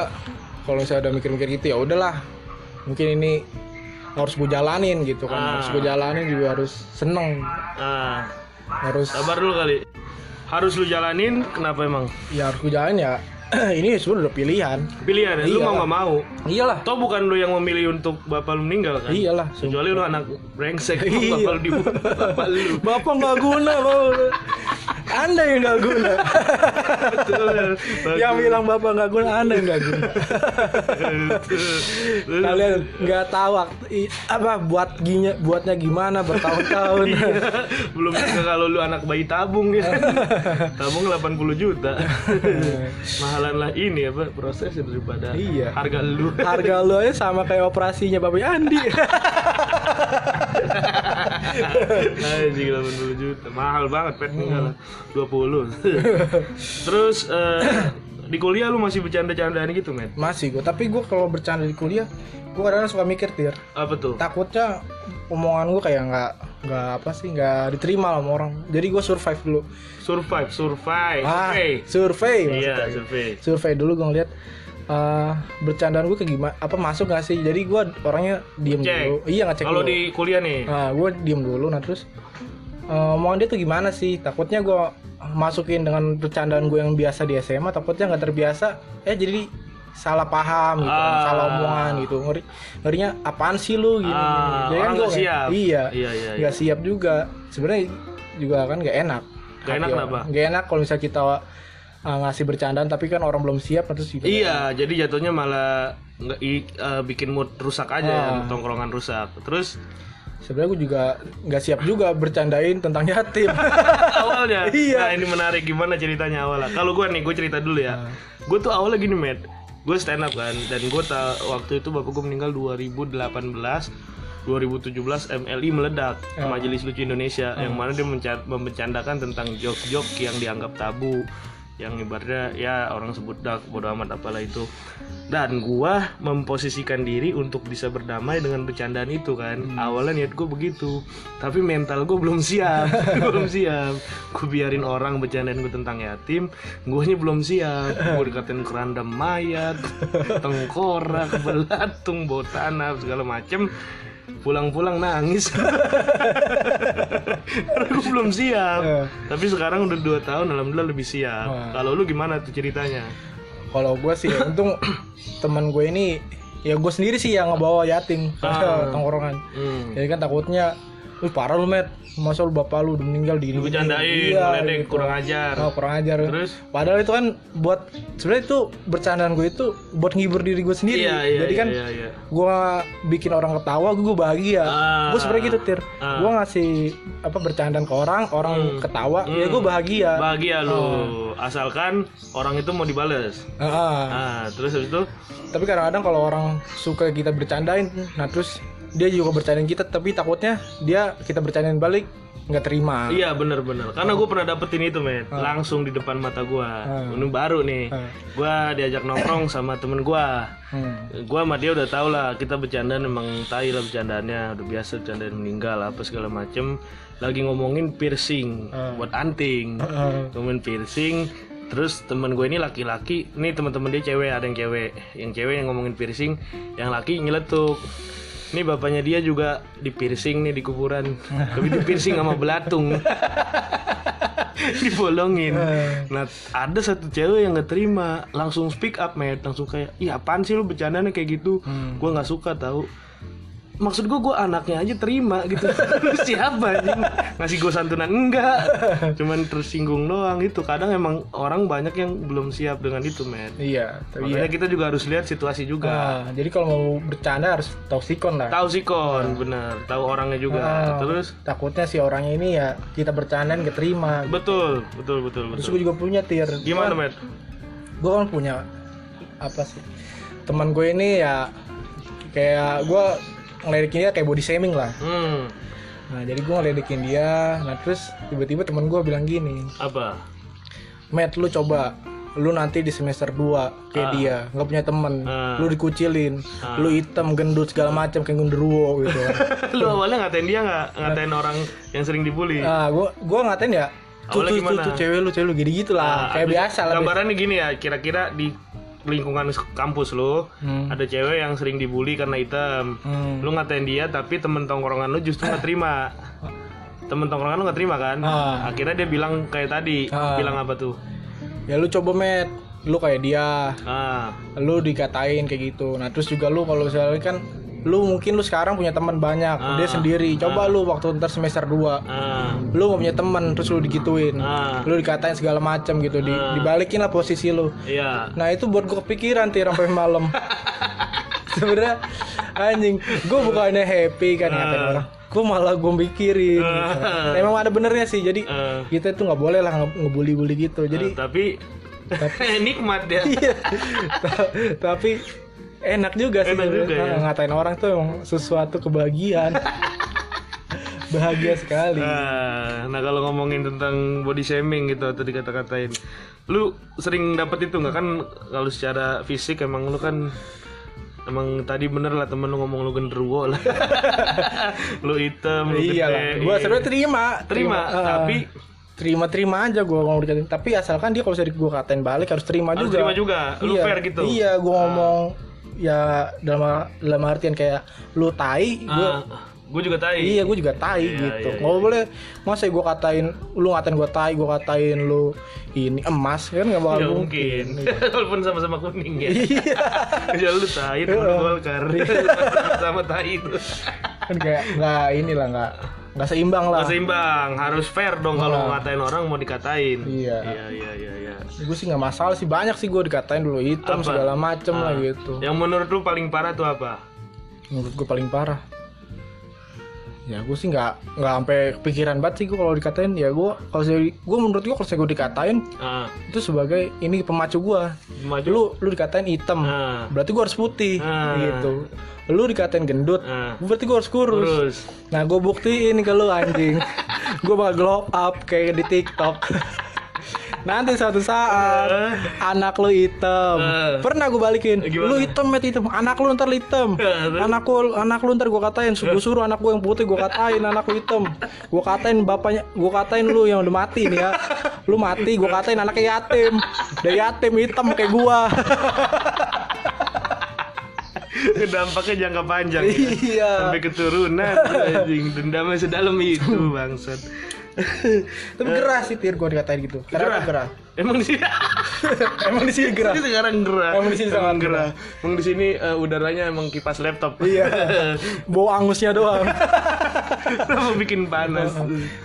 Speaker 2: kalau misalnya udah mikir-mikir gitu ya udahlah. Mungkin ini harus gue jalanin gitu kan.
Speaker 1: Ah.
Speaker 2: Harus gue jalanin juga harus seneng.
Speaker 1: ah
Speaker 2: Harus
Speaker 1: sabar dulu kali harus lu jalanin kenapa emang
Speaker 2: ya harus gue jalanin ya. ini sebenarnya udah pilihan.
Speaker 1: pilihan ya? lu
Speaker 2: Iya.
Speaker 1: mau nggak mau
Speaker 2: Iyalah.
Speaker 1: toh bukan lu yang memilih untuk bapak lu meninggal kan
Speaker 2: Iyalah. sumpah.
Speaker 1: kecuali lu anak brengsek
Speaker 2: Iya.
Speaker 1: bapak lu dibunuh bapak lu
Speaker 2: Bapak nggak guna, bapak. Anda yang nggak guna.
Speaker 1: betul
Speaker 2: yang bilang bapak nggak guna, Anda yang nggak guna.
Speaker 1: Betul.
Speaker 2: Kalian nggak tahu waktu- i- apa buat ginya, buatnya gimana bertahun-tahun.
Speaker 1: belum juga kalau lu anak bayi tabung ya tabung 80 juta mahalan lah ini apa prosesnya daripada
Speaker 2: Iya.
Speaker 1: harga lu
Speaker 2: Harga lo aja sama kayak operasinya Bapak Andi.
Speaker 1: anjing 80 juta mahal banget pet enggak lah 20 terus eh, di kuliah lu masih bercanda-candaan gitu men
Speaker 2: Masih gue, tapi gue kalau bercanda di kuliah, gue kadang suka mikir tir.
Speaker 1: apa tuh
Speaker 2: Takutnya omongan gue kayak nggak nggak apa sih nggak diterima lah sama orang. Jadi gue survive dulu.
Speaker 1: survive survive
Speaker 2: Ah,
Speaker 1: survey
Speaker 2: survei.
Speaker 1: iya
Speaker 2: maksudnya.
Speaker 1: survei
Speaker 2: survei dulu gue ngeliat eh bercandaan gue ke gimana apa masuk gak sih jadi gue orangnya diem
Speaker 1: Cek.
Speaker 2: dulu iya ngecek
Speaker 1: kalau
Speaker 2: dulu
Speaker 1: di kuliah nih
Speaker 2: nah gue diem dulu nah terus eh omongan dia tuh gimana sih takutnya gue masukin dengan bercandaan gue yang biasa di SMA takutnya nggak terbiasa eh jadi salah paham gitu
Speaker 1: Ah.
Speaker 2: salah omongan gitu ngeri ngerinya apaan sih lu gini,
Speaker 1: Ah,
Speaker 2: gini. Jadi
Speaker 1: orang
Speaker 2: gua
Speaker 1: nggak
Speaker 2: kayak,
Speaker 1: siap.
Speaker 2: iya
Speaker 1: Iya, iya, iya.
Speaker 2: nggak siap juga sebenarnya juga kan nggak enak
Speaker 1: Nggak enak
Speaker 2: Hati
Speaker 1: kenapa?
Speaker 2: orang. nggak enak kalau misalnya kita uh, ngasih bercandaan tapi kan orang belum siap terus juga
Speaker 1: Iya, jadi jatuhnya malah nggak i- eh, bikin mood rusak aja, tongkrongan rusak. Terus
Speaker 2: sebenarnya gue juga nggak siap juga bercandain tentang yatim
Speaker 1: awalnya,
Speaker 2: Iya.
Speaker 1: nah ini menarik gimana ceritanya awalnya. Kalau gue nih, gue cerita dulu ya. Gue tuh awalnya gini, Matt. Gue stand up kan, dan gue ta- waktu itu bapak gue meninggal 2018. 2017 MLI meledak Majelis Lucu Indonesia yang mana dia menca- membencandakan tentang jok-jok yang dianggap tabu yang ibaratnya ya orang sebut dak bodo amat apalah itu dan gua memposisikan diri untuk bisa berdamai dengan bercandaan itu kan awalnya niat gue begitu tapi mental gue belum siap belum siap gue biarin orang bercandaan gue tentang yatim guanya belum siap gue dikatain keranda mayat tengkorak belatung bau tanah segala macem pulang-pulang nangis karena gue belum siap tapi sekarang udah dua tahun alhamdulillah lebih siap kalau lu gimana tuh ceritanya
Speaker 2: kalau gue sih untung teman gue ini ya gue sendiri sih yang ngebawa yatim ke tongkrongan
Speaker 1: Ah. hmm.
Speaker 2: jadi kan takutnya lu parah lu met masa lu bapak lu udah meninggal di
Speaker 1: lu bercandain
Speaker 2: Iya,
Speaker 1: ngeledek, kurang ajar
Speaker 2: Oh, gitu. kurang ajar
Speaker 1: Terus?
Speaker 2: padahal itu kan buat sebenarnya itu bercandaan gue itu buat ngibur diri gue sendiri
Speaker 1: iya iya
Speaker 2: jadi
Speaker 1: iya,
Speaker 2: kan
Speaker 1: iya, iya.
Speaker 2: gue bikin orang ketawa gue bahagia
Speaker 1: Ah.
Speaker 2: gue sebenarnya gitu
Speaker 1: Ah.
Speaker 2: tir
Speaker 1: Hmm.
Speaker 2: gue ngasih apa bercandaan ke orang orang ketawa ya gue bahagia
Speaker 1: bahagia lu asalkan orang itu mau dibales ah
Speaker 2: Ah.
Speaker 1: terus habis itu
Speaker 2: tapi kadang-kadang kalau orang suka kita bercandain nah terus dia juga bercandain kita tapi takutnya dia kita bercandain balik nggak terima
Speaker 1: Iya bener-bener Karena gue pernah dapetin itu men Langsung di depan mata gue Ini baru nih
Speaker 2: Ah.
Speaker 1: Gue diajak nongkrong sama temen gue
Speaker 2: Hmm.
Speaker 1: Gue sama dia udah tau lah Kita bercanda emang tai lah bercandaannya Udah biasa bercandaan meninggal apa segala macem Lagi ngomongin piercing Buat anting
Speaker 2: Ah.
Speaker 1: Ngomongin piercing Terus temen gue ini laki-laki Nih temen-temen dia cewek Ada yang cewek Yang cewek yang ngomongin piercing Yang laki nyeletuk Nih bapaknya dia juga di piercing nih di kuburan Tapi di piercing sama belatung dibolongin.
Speaker 2: Eh.
Speaker 1: Nah, ada satu cewek yang nggak terima, langsung speak up, met, langsung kayak, "Iya, apaan sih lu bercandanya kayak gitu?
Speaker 2: Hmm.
Speaker 1: Gua nggak suka tahu." Maksud gua gua anaknya aja terima gitu. Lu siapa anjing? Ngasih gua santunan enggak. Cuman tersinggung doang gitu. Kadang emang orang banyak yang belum siap dengan itu, met.
Speaker 2: iya tapi
Speaker 1: Makanya kita juga harus lihat situasi juga.
Speaker 2: Nah, jadi kalau mau bercanda harus toksikon lah
Speaker 1: Tahu sikon, bener. Tahu orangnya juga.
Speaker 2: Ah.
Speaker 1: Terus
Speaker 2: takutnya si orangnya ini ya kita bercandain nggak terima
Speaker 1: betul, betul, betul,
Speaker 2: terus
Speaker 1: betul.
Speaker 2: gue juga punya tir
Speaker 1: Gimana, met?
Speaker 2: gue kan punya apa sih teman gue ini ya kayak gue ngeledekin dia kayak body shaming lah
Speaker 1: Hmm.
Speaker 2: nah jadi gue ngeledekin dia nah terus tiba-tiba teman gue bilang gini
Speaker 1: Apa?
Speaker 2: Eh Matt lu coba lu nanti di semester 2 kayak dia nggak punya temen
Speaker 1: Ah.
Speaker 2: lu dikucilin lu hitam gendut segala macam kayak genderuwo gitu
Speaker 1: lu awalnya ngatain dia nggak ngatain orang yang sering dibully
Speaker 2: ah gua gua ngatain ya
Speaker 1: Awalnya
Speaker 2: tuh tuh, tuh,
Speaker 1: gimana?
Speaker 2: tuh, cewek lu cewek lu gini gitu
Speaker 1: Nah,
Speaker 2: lah kayak
Speaker 1: abis-
Speaker 2: biasa lah
Speaker 1: gambarannya gini ya kira-kira di lingkungan sek- kampus lu
Speaker 2: Hmm.
Speaker 1: ada cewek yang sering dibully karena hitam
Speaker 2: Hmm.
Speaker 1: lu ngatain dia tapi temen tongkrongan lu justru nggak terima temen tongkrongan lu nggak terima kan
Speaker 2: Ah.
Speaker 1: akhirnya dia bilang kayak tadi
Speaker 2: Ah.
Speaker 1: bilang apa tuh
Speaker 2: ya lu coba Matt lu kayak dia
Speaker 1: ah
Speaker 2: lu dikatain kayak gitu nah terus juga lu kalau misalnya kan lu mungkin lu sekarang punya teman banyak dia sendiri coba lu waktu ntar semester 2
Speaker 1: ah
Speaker 2: lu gak punya teman terus lu digituin
Speaker 1: Ah.
Speaker 2: lu dikatain segala macam gitu di, dibalikin lah posisi lu
Speaker 1: iya
Speaker 2: nah itu buat gue kepikiran tir sampai malam sebenernya anjing gue bukannya happy
Speaker 1: Ah.
Speaker 2: kan ngatain orang gue malah gue mikirin gitu. Nah, emang ada benernya sih jadi
Speaker 1: Ah.
Speaker 2: kita itu nggak boleh lah nge- ngebully-bully gitu jadi
Speaker 1: eh, tapi nikmat ya
Speaker 2: Iya. Ta- tapi enak juga sih
Speaker 1: Enak
Speaker 2: sebenarnya.
Speaker 1: juga ya.
Speaker 2: Nah, ngatain orang tuh emang sesuatu kebahagiaan bahagia sekali
Speaker 1: Ah,
Speaker 2: Iya.
Speaker 1: nah kalau ngomongin tentang body shaming gitu atau dikata-katain lu sering dapet itu nggak kan kalau secara fisik emang lu kan emang tadi bener lah temen lu ngomong lu genderuwo lah lu hitam lu
Speaker 2: iya lah
Speaker 1: gede,
Speaker 2: gue
Speaker 1: iya.
Speaker 2: sebenarnya terima
Speaker 1: terima
Speaker 2: eh,
Speaker 1: tapi
Speaker 2: terima terima aja gue ngomong dikatain tapi asalkan dia kalau misalnya gue katain balik harus terima
Speaker 1: harus
Speaker 2: juga
Speaker 1: terima juga lu
Speaker 2: Iya.
Speaker 1: fair gitu
Speaker 2: iya gue ngomong ya dalam dalam artian kayak lu tai
Speaker 1: Ah,
Speaker 2: gue
Speaker 1: gue juga tai
Speaker 2: Iya, gue juga tai gitu.
Speaker 1: iya,
Speaker 2: Nggak boleh masa gue katain lu ngatain gue tai, gue katain lu ini emas kan nggak bakal
Speaker 1: Nggak
Speaker 2: mungkin.
Speaker 1: Ya mungkin walaupun sama-sama kuning ya
Speaker 2: Iya,
Speaker 1: ya lu tai temen lu golkar sama tai itu
Speaker 2: kan kayak nggak inilah nggak nggak seimbang lah.
Speaker 1: Nggak seimbang, harus fair dong kalau ngatain orang mau dikatain.
Speaker 2: Iya.
Speaker 1: Iya, iya, iya, iya.
Speaker 2: Gue sih nggak masalah sih banyak sih gue dikatain dulu
Speaker 1: Apa? Ah.
Speaker 2: hitam segala macem lah gitu.
Speaker 1: Yang menurut lu paling parah tuh apa?
Speaker 2: Menurut gue paling parah. Ya gue sih nggak nggak sampai kepikiran banget sih gue kalau dikatain ya gue kalau gue menurut gue kalau saya gue dikatain
Speaker 1: Ah,
Speaker 2: itu sebagai ini pemacu gue.
Speaker 1: maju.
Speaker 2: Lu lu dikatain hitam.
Speaker 1: Ah,
Speaker 2: berarti gue harus putih
Speaker 1: Ah.
Speaker 2: gitu lu dikatain gendut
Speaker 1: ah.
Speaker 2: berarti gue harus kurus
Speaker 1: Terus.
Speaker 2: nah gue buktiin ke lu anjing gue bakal glow up kayak di tiktok nanti suatu saat anak lu hitam
Speaker 1: Ah.
Speaker 2: pernah gue balikin
Speaker 1: Eh. Gimana?
Speaker 2: lu hitam met hitam anak lu ntar lu hitam
Speaker 1: Ah, terus? Eh.
Speaker 2: anak lu anak lu ntar gue katain gue suruh anak gue yang putih gue katain anak lu hitam gue katain bapaknya gue katain lu yang udah mati nih ya lu mati gue katain anaknya yatim dari yatim hitam kayak gue
Speaker 1: Dampaknya jangka panjang. ya.
Speaker 2: Iya.
Speaker 1: Sampai keturunan anjing dendamnya sedalam itu bangsat.
Speaker 2: Tapi gerah sih tir gue dikatain gitu.
Speaker 1: Gerah?
Speaker 2: Karena gerah. gerah.
Speaker 1: Emang di sini
Speaker 2: Emang di sini Iya, gerah.
Speaker 1: ini sekarang gerah.
Speaker 2: Emang di sini sangat
Speaker 1: gerah. Emang di sini eh, udaranya emang kipas laptop.
Speaker 2: Iya. Bau angusnya doang.
Speaker 1: Kenapa bikin panas?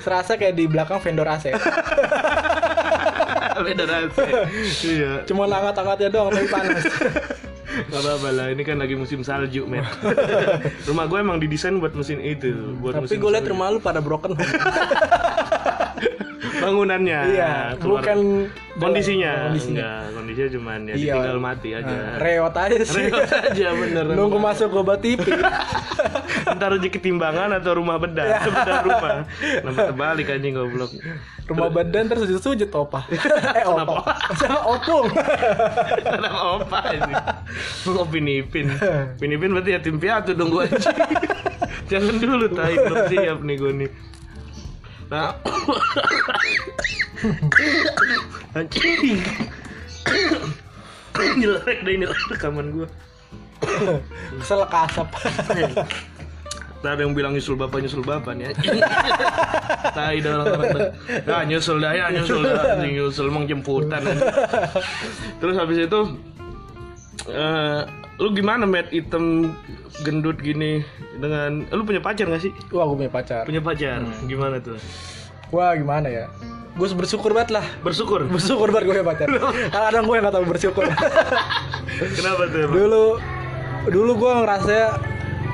Speaker 2: Serasa kayak di belakang vendor AC.
Speaker 1: Beda rasa. Iya.
Speaker 2: Cuma angkat-angkatnya doang tapi panas.
Speaker 1: Gak apa-apa lah, ini kan lagi musim salju, men. rumah gue emang didesain buat musim itu, buat
Speaker 2: tapi
Speaker 1: musim
Speaker 2: gue liat
Speaker 1: salju.
Speaker 2: rumah lu pada broken home.
Speaker 1: bangunannya.
Speaker 2: Iya,
Speaker 1: keluar-
Speaker 2: bukan
Speaker 1: kondisinya.
Speaker 2: Kondisinya.
Speaker 1: Enggak, kondisinya cuman ya
Speaker 2: Iya.
Speaker 1: ditinggal mati aja.
Speaker 2: Nah, reot aja sih.
Speaker 1: Reot aja bener.
Speaker 2: Nunggu masuk obat TV.
Speaker 1: Entar rezeki timbangan atau rumah bedah, sebentar rumah. Nambah terbalik anjing goblok.
Speaker 2: Rumah badan terus sujud-sujud opa. eh opa. Sama opung.
Speaker 1: Anak opa ini. Mau pinipin. Pinipin berarti yatim piatu dong gue anjing. Jangan dulu tai belum siap nih gue nih. Nah. anjing. Nyelek deh ini rekaman gue.
Speaker 2: Selek asap.
Speaker 1: Ntar ada yang bilang nyusul bapak nyusul bapak nih anjing. Tai dah orang-orang tuh. Nah nyusul dah ya nyusul dah anjing nyusul emang jemputan anjing. Terus habis itu eh lu gimana met item gendut gini dengan eh, lu punya pacar gak sih? Hmm.
Speaker 2: Wah gue punya pacar.
Speaker 1: Punya pacar. Gimana tuh?
Speaker 2: Wah gimana ya? Gue bersyukur banget lah.
Speaker 1: Bersyukur.
Speaker 2: Bersyukur banget gue punya pacar. Kadang-kadang gue yang gak tau bersyukur.
Speaker 1: Kenapa tuh? emang?
Speaker 2: dulu dulu gue ngerasa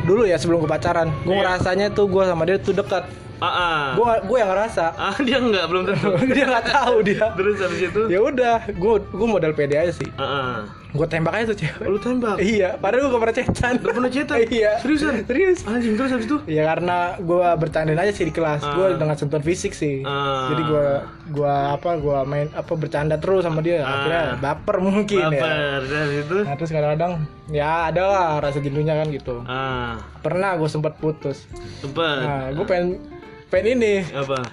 Speaker 2: dulu ya sebelum gue pacaran gue
Speaker 1: Iya.
Speaker 2: ngerasanya tuh gue sama dia tuh dekat
Speaker 1: Ah, ah.
Speaker 2: gue gue yang ngerasa
Speaker 1: ah dia enggak belum tentu.
Speaker 2: dia nggak tahu dia
Speaker 1: Terus habis itu?
Speaker 2: ya udah gue gue modal pede aja sih
Speaker 1: Ah, ah.
Speaker 2: Gue tembak aja tuh cewek.
Speaker 1: Lu tembak.
Speaker 2: Iya, padahal gue gak pernah cetan.
Speaker 1: Gak pernah cetak?
Speaker 2: Iya.
Speaker 1: Seriusan?
Speaker 2: Serius.
Speaker 1: Anjing terus habis itu?
Speaker 2: Ya karena gue bercandain aja sih di kelas. Gue
Speaker 1: Ah.
Speaker 2: dengan sentuhan fisik sih.
Speaker 1: Ah.
Speaker 2: Jadi gue gua apa gua main apa bercanda terus sama dia.
Speaker 1: Ah.
Speaker 2: Akhirnya baper mungkin ya.
Speaker 1: Baper dan itu.
Speaker 2: Nah, terus kadang-kadang ya ada lah rasa jenuhnya kan gitu.
Speaker 1: Ah,
Speaker 2: Pernah gue sempat putus.
Speaker 1: sempet.
Speaker 2: Nah, gue pengen pengen ini,
Speaker 1: Apa?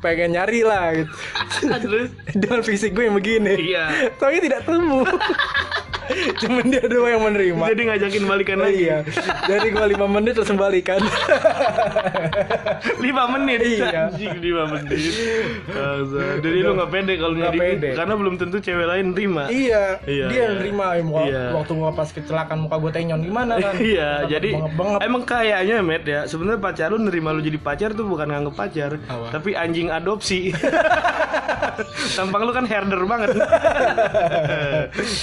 Speaker 2: pengen nyari lah gitu.
Speaker 1: terus?
Speaker 2: Dengan fisik gue yang begini.
Speaker 1: Iya.
Speaker 2: Tapi tidak temu. Cuman dia doang yang menerima.
Speaker 1: Jadi ngajakin balikan
Speaker 2: Oh,
Speaker 1: lagi.
Speaker 2: iya. Dari gua 5 menit langsung balikan.
Speaker 1: lima menit
Speaker 2: Iya.
Speaker 1: anjing lima menit Astaga. jadi lu nggak pede kalau
Speaker 2: Nggak
Speaker 1: nyari
Speaker 2: pede.
Speaker 1: karena belum tentu cewek lain terima
Speaker 2: iya,
Speaker 1: Iya,
Speaker 2: dia yang
Speaker 1: iya.
Speaker 2: nerima ya, muka-
Speaker 1: Iya.
Speaker 2: waktu gua pas kecelakaan muka gua tenyon gimana kan?
Speaker 1: Iya,
Speaker 2: Kenapa
Speaker 1: jadi
Speaker 2: bengep-bengep?
Speaker 1: emang kayaknya Matt ya, sebenarnya pacar lu nerima lu jadi pacar tuh bukan nganggep pacar,
Speaker 2: Apa?
Speaker 1: tapi anjing adopsi. Tampang lu kan herder banget.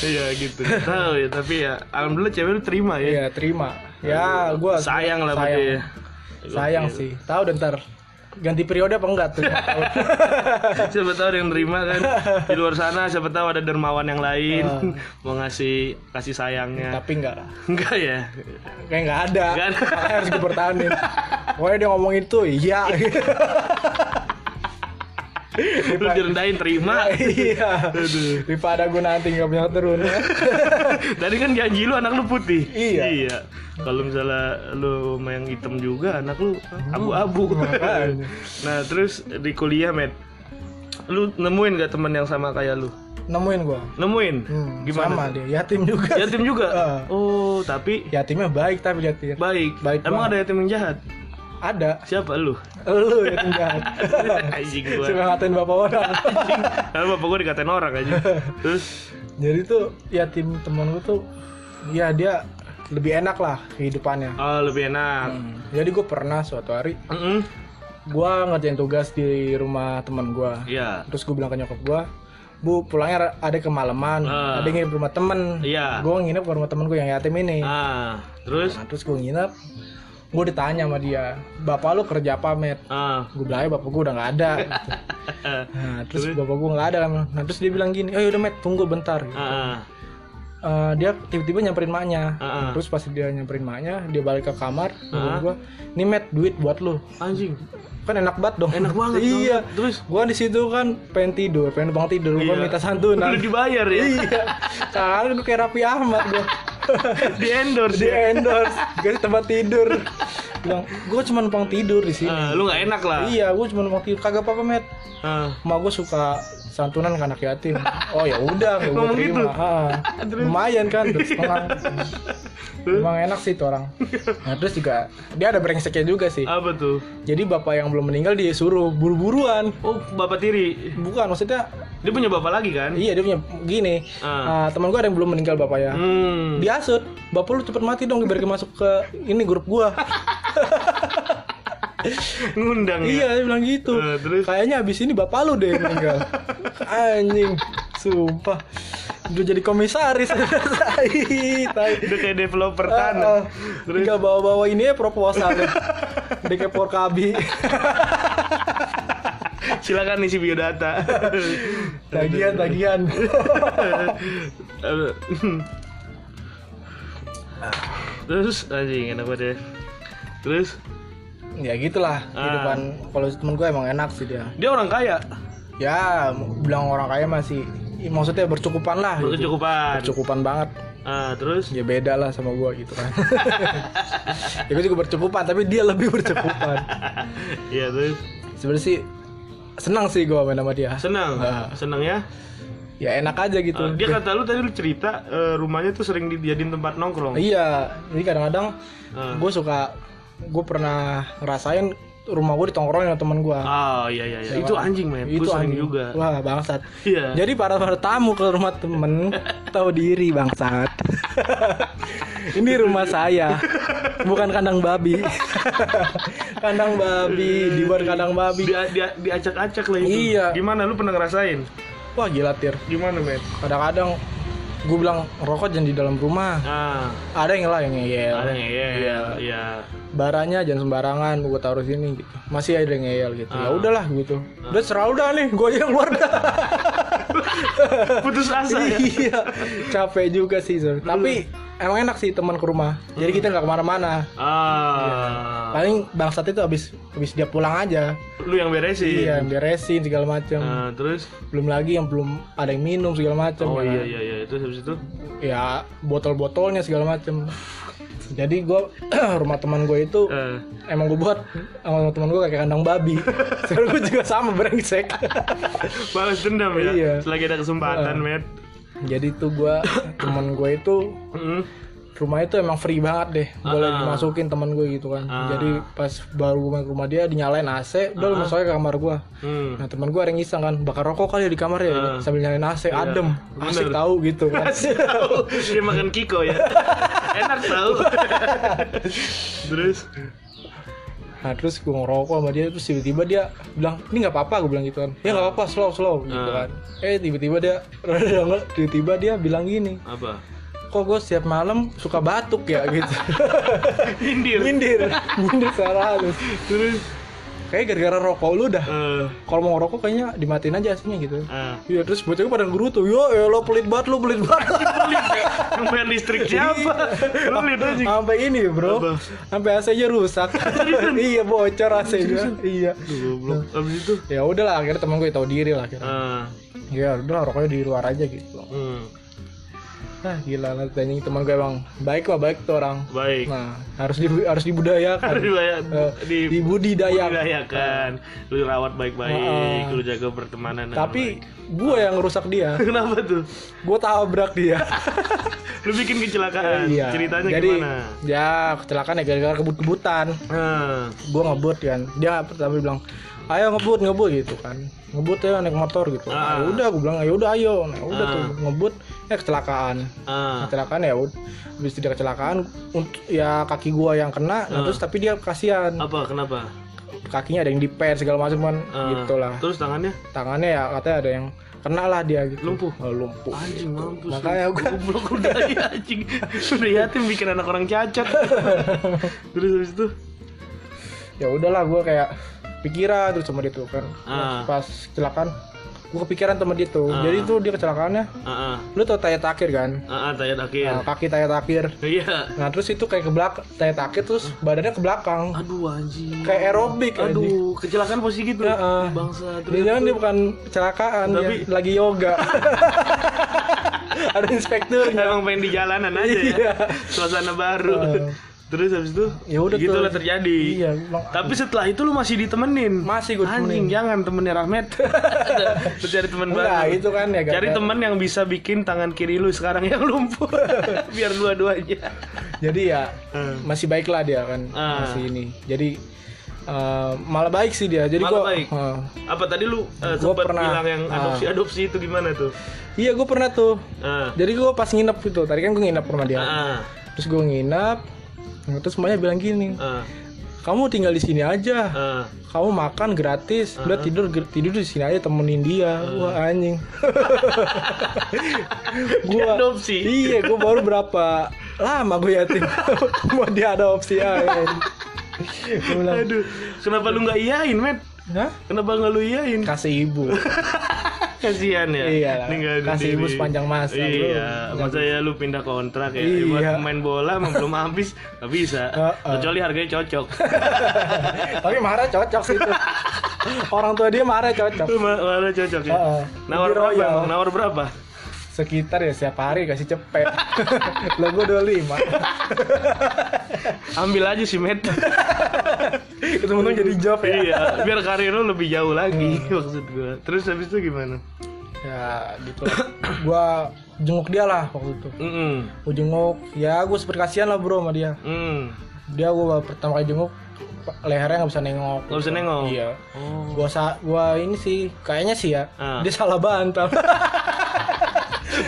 Speaker 1: Iya gitu. Tahu ya, tapi ya alhamdulillah cewek lu terima ya.
Speaker 2: Iya, terima. Ya, gua
Speaker 1: Sayang lah berarti
Speaker 2: sayang,
Speaker 1: ya.
Speaker 2: sayang sih. Tahu deh ntar ganti periode apa enggak tuh?
Speaker 1: siapa tahu ada yang nerima kan di luar sana siapa tahu ada dermawan yang lain
Speaker 2: Ah.
Speaker 1: mau ngasih kasih sayangnya
Speaker 2: Tapi enggak lah.
Speaker 1: enggak ya
Speaker 2: Kayak enggak ada.
Speaker 1: Nggak ada.
Speaker 2: Makanya harus gue pertahanin. Pokoknya dia ngomong itu, iya.
Speaker 1: lu direndahin terima
Speaker 2: iya. Daripada gue nanti nggak punya keturunan.
Speaker 1: tadi kan janji lu anak lu putih
Speaker 2: Iya.
Speaker 1: kalau misalnya lu sama yang hitam juga anak lu abu-abu
Speaker 2: makanya.
Speaker 1: nah terus di kuliah met lu nemuin gak teman yang sama kayak lu
Speaker 2: Nemuin gue.
Speaker 1: nemuin
Speaker 2: Hmm, Sama
Speaker 1: gimana
Speaker 2: dia, yatim juga.
Speaker 1: yatim juga
Speaker 2: Ah.
Speaker 1: oh tapi
Speaker 2: Yatimnya baik tapi yatim.
Speaker 1: baik
Speaker 2: Baik
Speaker 1: emang ada yatim yang jahat
Speaker 2: Ada.
Speaker 1: siapa lu
Speaker 2: Lu yatim jahat.
Speaker 1: anjing gua
Speaker 2: Suka ngatain bapak orang.
Speaker 1: Lalu bapak gue dikatain orang aja Terus
Speaker 2: Jadi tuh yatim temen gue tuh, ya dia lebih enak lah kehidupannya.
Speaker 1: oh, lebih enak
Speaker 2: Jadi gue pernah suatu hari
Speaker 1: Mm-mm.
Speaker 2: gue ngerjain tugas di rumah teman gue.
Speaker 1: Iya
Speaker 2: Terus gue bilang ke nyokap gue, Bu pulangnya ada kemalaman,
Speaker 1: Ah.
Speaker 2: ada yang nginep rumah temen.
Speaker 1: Iya.
Speaker 2: Gue nginep ke rumah temen gue yang yatim ini.
Speaker 1: Ah Terus
Speaker 2: Nah, terus gue nginep, gue ditanya sama dia, bapak lu kerja apa, Met?
Speaker 1: Ah
Speaker 2: Gue bilang, "Ya, bapak gue udah nggak ada. gitu. nah, terus bapak gue nggak ada kan. Nah, terus dia bilang gini, ayo udah Met, tunggu bentar.
Speaker 1: Ah ah.
Speaker 2: Eh, dia tiba-tiba nyamperin maknya.
Speaker 1: Ah, ah.
Speaker 2: Terus pas dia nyamperin maknya, dia balik ke kamar,
Speaker 1: Ah.
Speaker 2: gue, nih Met, duit buat lu.
Speaker 1: Anjing
Speaker 2: Kan enak banget dong.
Speaker 1: Enak banget dong.
Speaker 2: iya.
Speaker 1: Terus
Speaker 2: Gua di situ kan pengen tidur, pengen bangun tidur, gua
Speaker 1: Iya.
Speaker 2: minta santunan.
Speaker 1: Udah dibayar ya
Speaker 2: iya. Sekarang gue kayak Raffi Ahmad gue
Speaker 1: Di endorse ya?
Speaker 2: di endorse, gue tempat tidur. Bilang, gue cuma numpang tidur di sini.
Speaker 1: Ah, Lu gak enak lah
Speaker 2: Iya, gue cuma numpang tidur. Kagak apa-apa, Met.
Speaker 1: Ah.
Speaker 2: Emak gue suka santunan ke anak yatim. Oh ya udah, gue
Speaker 1: Ngomong
Speaker 2: terima.
Speaker 1: gitu?
Speaker 2: Ah, lumayan kan, terus emang, emang enak sih itu orang. Nah terus juga dia ada brengseknya juga sih.
Speaker 1: Apa tuh
Speaker 2: Jadi bapak yang belum meninggal dia suruh buru-buruan.
Speaker 1: Oh bapak tiri
Speaker 2: Bukan maksudnya
Speaker 1: Dia punya bapak lagi kan
Speaker 2: Iya dia punya gini.
Speaker 1: Ah.
Speaker 2: Ah, teman gue ada yang belum meninggal bapak ya.
Speaker 1: Hmm
Speaker 2: Dia asut, bapak lu cepet mati dong biar dia masuk ke ini grup gua.
Speaker 1: Hmm. Ngundang ya
Speaker 2: iya dia bilang gitu.
Speaker 1: Eh, terus?
Speaker 2: Kayaknya abis ini bapak lu deh yang meninggal. Anjing, sumpah. Udah jadi komisaris. Tai, tai.
Speaker 1: Udah kayak developer
Speaker 2: Ah, ah.
Speaker 1: tanah Terus
Speaker 2: Tinggal bawa-bawa ini ya proposal DK Porkabi
Speaker 1: silakan isi biodata
Speaker 2: Tagihan, tagihan
Speaker 1: Eh, Terus anjing enak banget ya. Terus
Speaker 2: Ya gitulah
Speaker 1: Ah.
Speaker 2: Kehidupan Kalau temen gue emang enak sih dia
Speaker 1: dia orang kaya,
Speaker 2: ya mau bilang orang kaya masih i- maksudnya bercukupan lah gitu.
Speaker 1: berkecukupan.
Speaker 2: bercukupan banget
Speaker 1: Ah, terus
Speaker 2: ya beda lah sama gua gitu kan ya gue juga bercukupan tapi dia lebih bercukupan
Speaker 1: Iya, terus
Speaker 2: sebenarnya sih senang sih gua main sama dia
Speaker 1: senang.
Speaker 2: Ah.
Speaker 1: Senang ya.
Speaker 2: ya enak aja
Speaker 1: Ah,
Speaker 2: gitu
Speaker 1: dia kata lu tadi lu cerita eh, rumahnya tuh sering dijadiin tempat nongkrong.
Speaker 2: iya jadi kadang-kadang
Speaker 1: Ah.
Speaker 2: gue suka gue pernah ngerasain rumah gue ditongkrongin sama teman gua
Speaker 1: Ah, iya iya iya. Itu anjing, men. Itu
Speaker 2: itu
Speaker 1: sering
Speaker 2: anjing.
Speaker 1: juga.
Speaker 2: wah bangsat
Speaker 1: Iya.
Speaker 2: Jadi para para tamu ke rumah temen tahu diri bangsat. Ini rumah saya, bukan kandang babi. kandang babi, di luar kandang babi.
Speaker 1: Dia dia diacak-acak lah itu.
Speaker 2: Iya.
Speaker 1: Gimana lu pernah ngerasain?
Speaker 2: Wah gila tir.
Speaker 1: Gimana, men?
Speaker 2: Kadang-kadang gue bilang rokok jangan di dalam rumah.
Speaker 1: Ah,
Speaker 2: Ada yang lah yang ngeyel.
Speaker 1: ada yang iya iya. iya.
Speaker 2: Baranya jangan sembarangan, gue taruh
Speaker 1: Ah.
Speaker 2: sini gitu. Masih ada yang ngeyel gitu. Ya udahlah gitu. Udah serah udah nih, gue yang keluar dah.
Speaker 1: putus asa ya
Speaker 2: iya capek juga sih Zul. tapi emang enak sih teman ke rumah jadi
Speaker 1: Hmm.
Speaker 2: kita nggak kemana-mana
Speaker 1: ah
Speaker 2: paling bangsat itu habis habis dia pulang aja
Speaker 1: lu yang beresin
Speaker 2: iya beresin segala macam
Speaker 1: Ah, terus
Speaker 2: belum lagi yang belum ada yang minum segala macam
Speaker 1: oh
Speaker 2: ya.
Speaker 1: iya iya iya terus habis itu
Speaker 2: ya botol-botolnya segala macam jadi gua rumah teman gue itu
Speaker 1: eh,
Speaker 2: emang gue buat sama teman gue kayak kandang babi sekarang gue juga sama brengsek
Speaker 1: balas dendam ya
Speaker 2: Iya.
Speaker 1: selagi ada kesempatan
Speaker 2: Ah.
Speaker 1: met
Speaker 2: jadi tuh gue teman gue itu
Speaker 1: Mm.
Speaker 2: rumahnya itu emang free banget deh boleh
Speaker 1: Ah.
Speaker 2: dimasukin teman gue gitu kan
Speaker 1: Ah.
Speaker 2: jadi pas baru main ke rumah dia dinyalain AC udah lu masuk aja ke kamar gue
Speaker 1: Hmm.
Speaker 2: nah teman gue ada yang iseng kan bakar rokok kali ya di kamar ya
Speaker 1: Ah.
Speaker 2: sambil nyalain AC adem asik
Speaker 1: bener.
Speaker 2: tahu gitu kan
Speaker 1: Tahu, dia makan Kiko ya. Enak tahu. Terus
Speaker 2: Nah terus gue ngerokok sama dia terus tiba-tiba dia bilang ini nggak apa-apa gue bilang gitu kan ya nggak apa-apa slow slow gitu
Speaker 1: Ah.
Speaker 2: kan eh tiba-tiba dia tiba-tiba dia bilang gini
Speaker 1: apa?
Speaker 2: kok gue setiap malam suka batuk ya gitu
Speaker 1: Indir.
Speaker 2: mindir mindir secara halus
Speaker 1: Terus
Speaker 2: kayak gara-gara rokok lu dah
Speaker 1: eh
Speaker 2: kalau mau ngerokok kayaknya dimatiin aja aslinya gitu
Speaker 1: ah.
Speaker 2: Iya terus bocah pada guru tuh yo ya lo pelit banget lo pelit banget
Speaker 1: yang bayar listrik
Speaker 2: Iya.
Speaker 1: siapa? Lu lihat aja.
Speaker 2: sampai ini bro
Speaker 1: Apa?
Speaker 2: sampai AC nya rusak iya bocor AC nya iya
Speaker 1: Aduh, goblok. Abis itu
Speaker 2: ya udahlah akhirnya temen gue tahu diri lah akhirnya
Speaker 1: ah.
Speaker 2: ya udah rokoknya di luar aja gitu
Speaker 1: Hmm.
Speaker 2: nah gila nanti anjing teman gue emang baik mah baik tuh orang
Speaker 1: Baik.
Speaker 2: nah harus di, harus dibudayakan
Speaker 1: Harus dibayar
Speaker 2: Eh,
Speaker 1: di
Speaker 2: dibudidayakan
Speaker 1: dibudayakan. Iya, kan. Lu rawat baik-baik,
Speaker 2: Ah.
Speaker 1: lu jaga pertemanan. dengan
Speaker 2: tapi gue yang ngerusak dia
Speaker 1: baik. kenapa tuh?
Speaker 2: gue tabrak dia
Speaker 1: Lu bikin kecelakaan. Ceritanya
Speaker 2: Iya. jadi
Speaker 1: gimana?
Speaker 2: ya kecelakaan ya gara-gara kebut-kebutan
Speaker 1: Ah.
Speaker 2: gue ngebut kan dia pertama bilang ayo ngebut ngebut gitu kan ngebut ya naik motor gitu
Speaker 1: Ah.
Speaker 2: Nah, udah gue bilang ya udah ayo nah, udah
Speaker 1: Ah.
Speaker 2: tuh ngebut ya kecelakaan
Speaker 1: Ah.
Speaker 2: kecelakaan ya ud- habis tidak kecelakaan unt- ya kaki gua yang kena nah,
Speaker 1: Ah.
Speaker 2: terus tapi dia kasihan
Speaker 1: Apa kenapa?
Speaker 2: kakinya ada yang diper segala macam kan
Speaker 1: Ah.
Speaker 2: gitulah
Speaker 1: Terus tangannya?
Speaker 2: tangannya ya katanya ada yang kena lah dia gitu
Speaker 1: Lumpuh?
Speaker 2: Oh, lumpuh
Speaker 1: Anjing mampus.
Speaker 2: Makanya
Speaker 1: lu.
Speaker 2: gua-
Speaker 1: goblok udah ya, anjing. Udah yatim bikin anak orang cacat. Terus habis itu
Speaker 2: ya udahlah gua kayak pikiran terus sama dia tuh kan
Speaker 1: Ah.
Speaker 2: pas kecelakaan gua kepikiran sama dia tuh
Speaker 1: Ah.
Speaker 2: jadi tuh dia kecelakaannya
Speaker 1: ah ah
Speaker 2: lu tau tayat akhir kan
Speaker 1: ah ah, tayat akhir.
Speaker 2: Nah, kaki tayat akhir
Speaker 1: Iya.
Speaker 2: nah terus itu kayak ke belakang tayat akhir terus badannya ke belakang
Speaker 1: Aduh anjing.
Speaker 2: kayak aerobik anjing.
Speaker 1: Aduh, kecelakaan posisi gitu.
Speaker 2: Ya, ah.
Speaker 1: Bangsa
Speaker 2: Dia
Speaker 1: terus.
Speaker 2: jangan dia bukan kecelakaan, dia
Speaker 1: Tapi-
Speaker 2: lagi yoga. Ada inspekturnya.
Speaker 1: Emang pengen di jalanan aja
Speaker 2: Iya.
Speaker 1: ya. Suasana baru.
Speaker 2: Ah.
Speaker 1: Terus habis itu
Speaker 2: Ya udah
Speaker 1: gitu
Speaker 2: tuh.
Speaker 1: lah terjadi.
Speaker 2: Iya, bang.
Speaker 1: Tapi setelah itu lu masih ditemenin.
Speaker 2: Masih gua
Speaker 1: Anjing,
Speaker 2: temenin.
Speaker 1: jangan temennya Rahmat. Lu cari temen
Speaker 2: Enggak,
Speaker 1: baru.
Speaker 2: itu kan ya
Speaker 1: Cari
Speaker 2: gara-gara-
Speaker 1: teman yang bisa bikin tangan kiri lu sekarang yang lumpuh. Biar dua-duanya.
Speaker 2: Jadi ya
Speaker 1: Hmm.
Speaker 2: masih baiklah dia kan
Speaker 1: Ah.
Speaker 2: masih ini. Jadi eh, malah baik sih dia. Jadi
Speaker 1: Malah
Speaker 2: gua
Speaker 1: baik.
Speaker 2: eh,
Speaker 1: Apa tadi lu uh,
Speaker 2: Gua
Speaker 1: sempat
Speaker 2: pernah-
Speaker 1: bilang yang
Speaker 2: ah.
Speaker 1: adopsi-adopsi itu gimana tuh?
Speaker 2: Iya, gue pernah tuh.
Speaker 1: Ah.
Speaker 2: Jadi gue pas nginep gitu. Tadi kan gue nginep rumah dia.
Speaker 1: Ah.
Speaker 2: Terus gue nginep. nah, Terus semuanya bilang gini,
Speaker 1: Ah.
Speaker 2: "Kamu tinggal di sini aja.
Speaker 1: Ah.
Speaker 2: Kamu makan gratis. Udah tidur ger- tidur di sini aja temenin dia." Wah, anjing. gua
Speaker 1: Diadopsi.
Speaker 2: Iya, gue baru berapa lama gue yatim mau diadopsi aja. Gue ya. bilang,
Speaker 1: Aduh, kenapa lu nggak iyain, Met?
Speaker 2: "Hah?
Speaker 1: Kenapa nggak lu iyain?
Speaker 2: Kasih ibu.
Speaker 1: Kasihan ya.
Speaker 2: Iya lah.
Speaker 1: ninggal di
Speaker 2: Kasih ibu
Speaker 1: sini.
Speaker 2: sepanjang masa, bro.
Speaker 1: Iya, masa ya lu pindah kontrak ya.
Speaker 2: Iya.
Speaker 1: Buat main bola mah belum habis, nggak bisa.
Speaker 2: Ah, ah.
Speaker 1: Kecuali harganya cocok.
Speaker 2: Tapi marah cocok sih itu. Orang tua dia marah cocok.
Speaker 1: Lu ma- malah cocok ya.
Speaker 2: Ah, ah.
Speaker 1: Nawar
Speaker 2: Lebih
Speaker 1: berapa?
Speaker 2: royal.
Speaker 1: Bang? Nawar berapa?
Speaker 2: Sekitar ya setiap hari kasih cepet. Lah gue 25.
Speaker 1: Ambil aja sih, Met.
Speaker 2: Ketemu jadi job ya. Hmm.
Speaker 1: iya, biar karir lu lebih jauh lagi maksud gua. Terus habis itu gimana?
Speaker 2: Ya gitu. lah. Gua jenguk dia lah waktu itu.
Speaker 1: Mm
Speaker 2: Gue jenguk. Ya gue sempet kasihan lah bro sama dia.
Speaker 1: Hmm.
Speaker 2: Dia gue pertama kali jenguk lehernya nggak bisa nengok.
Speaker 1: Gak bisa nengok.
Speaker 2: Iya.
Speaker 1: Oh.
Speaker 2: Gua sa gua ini sih kayaknya sih ya.
Speaker 1: Ah.
Speaker 2: Dia salah bantal.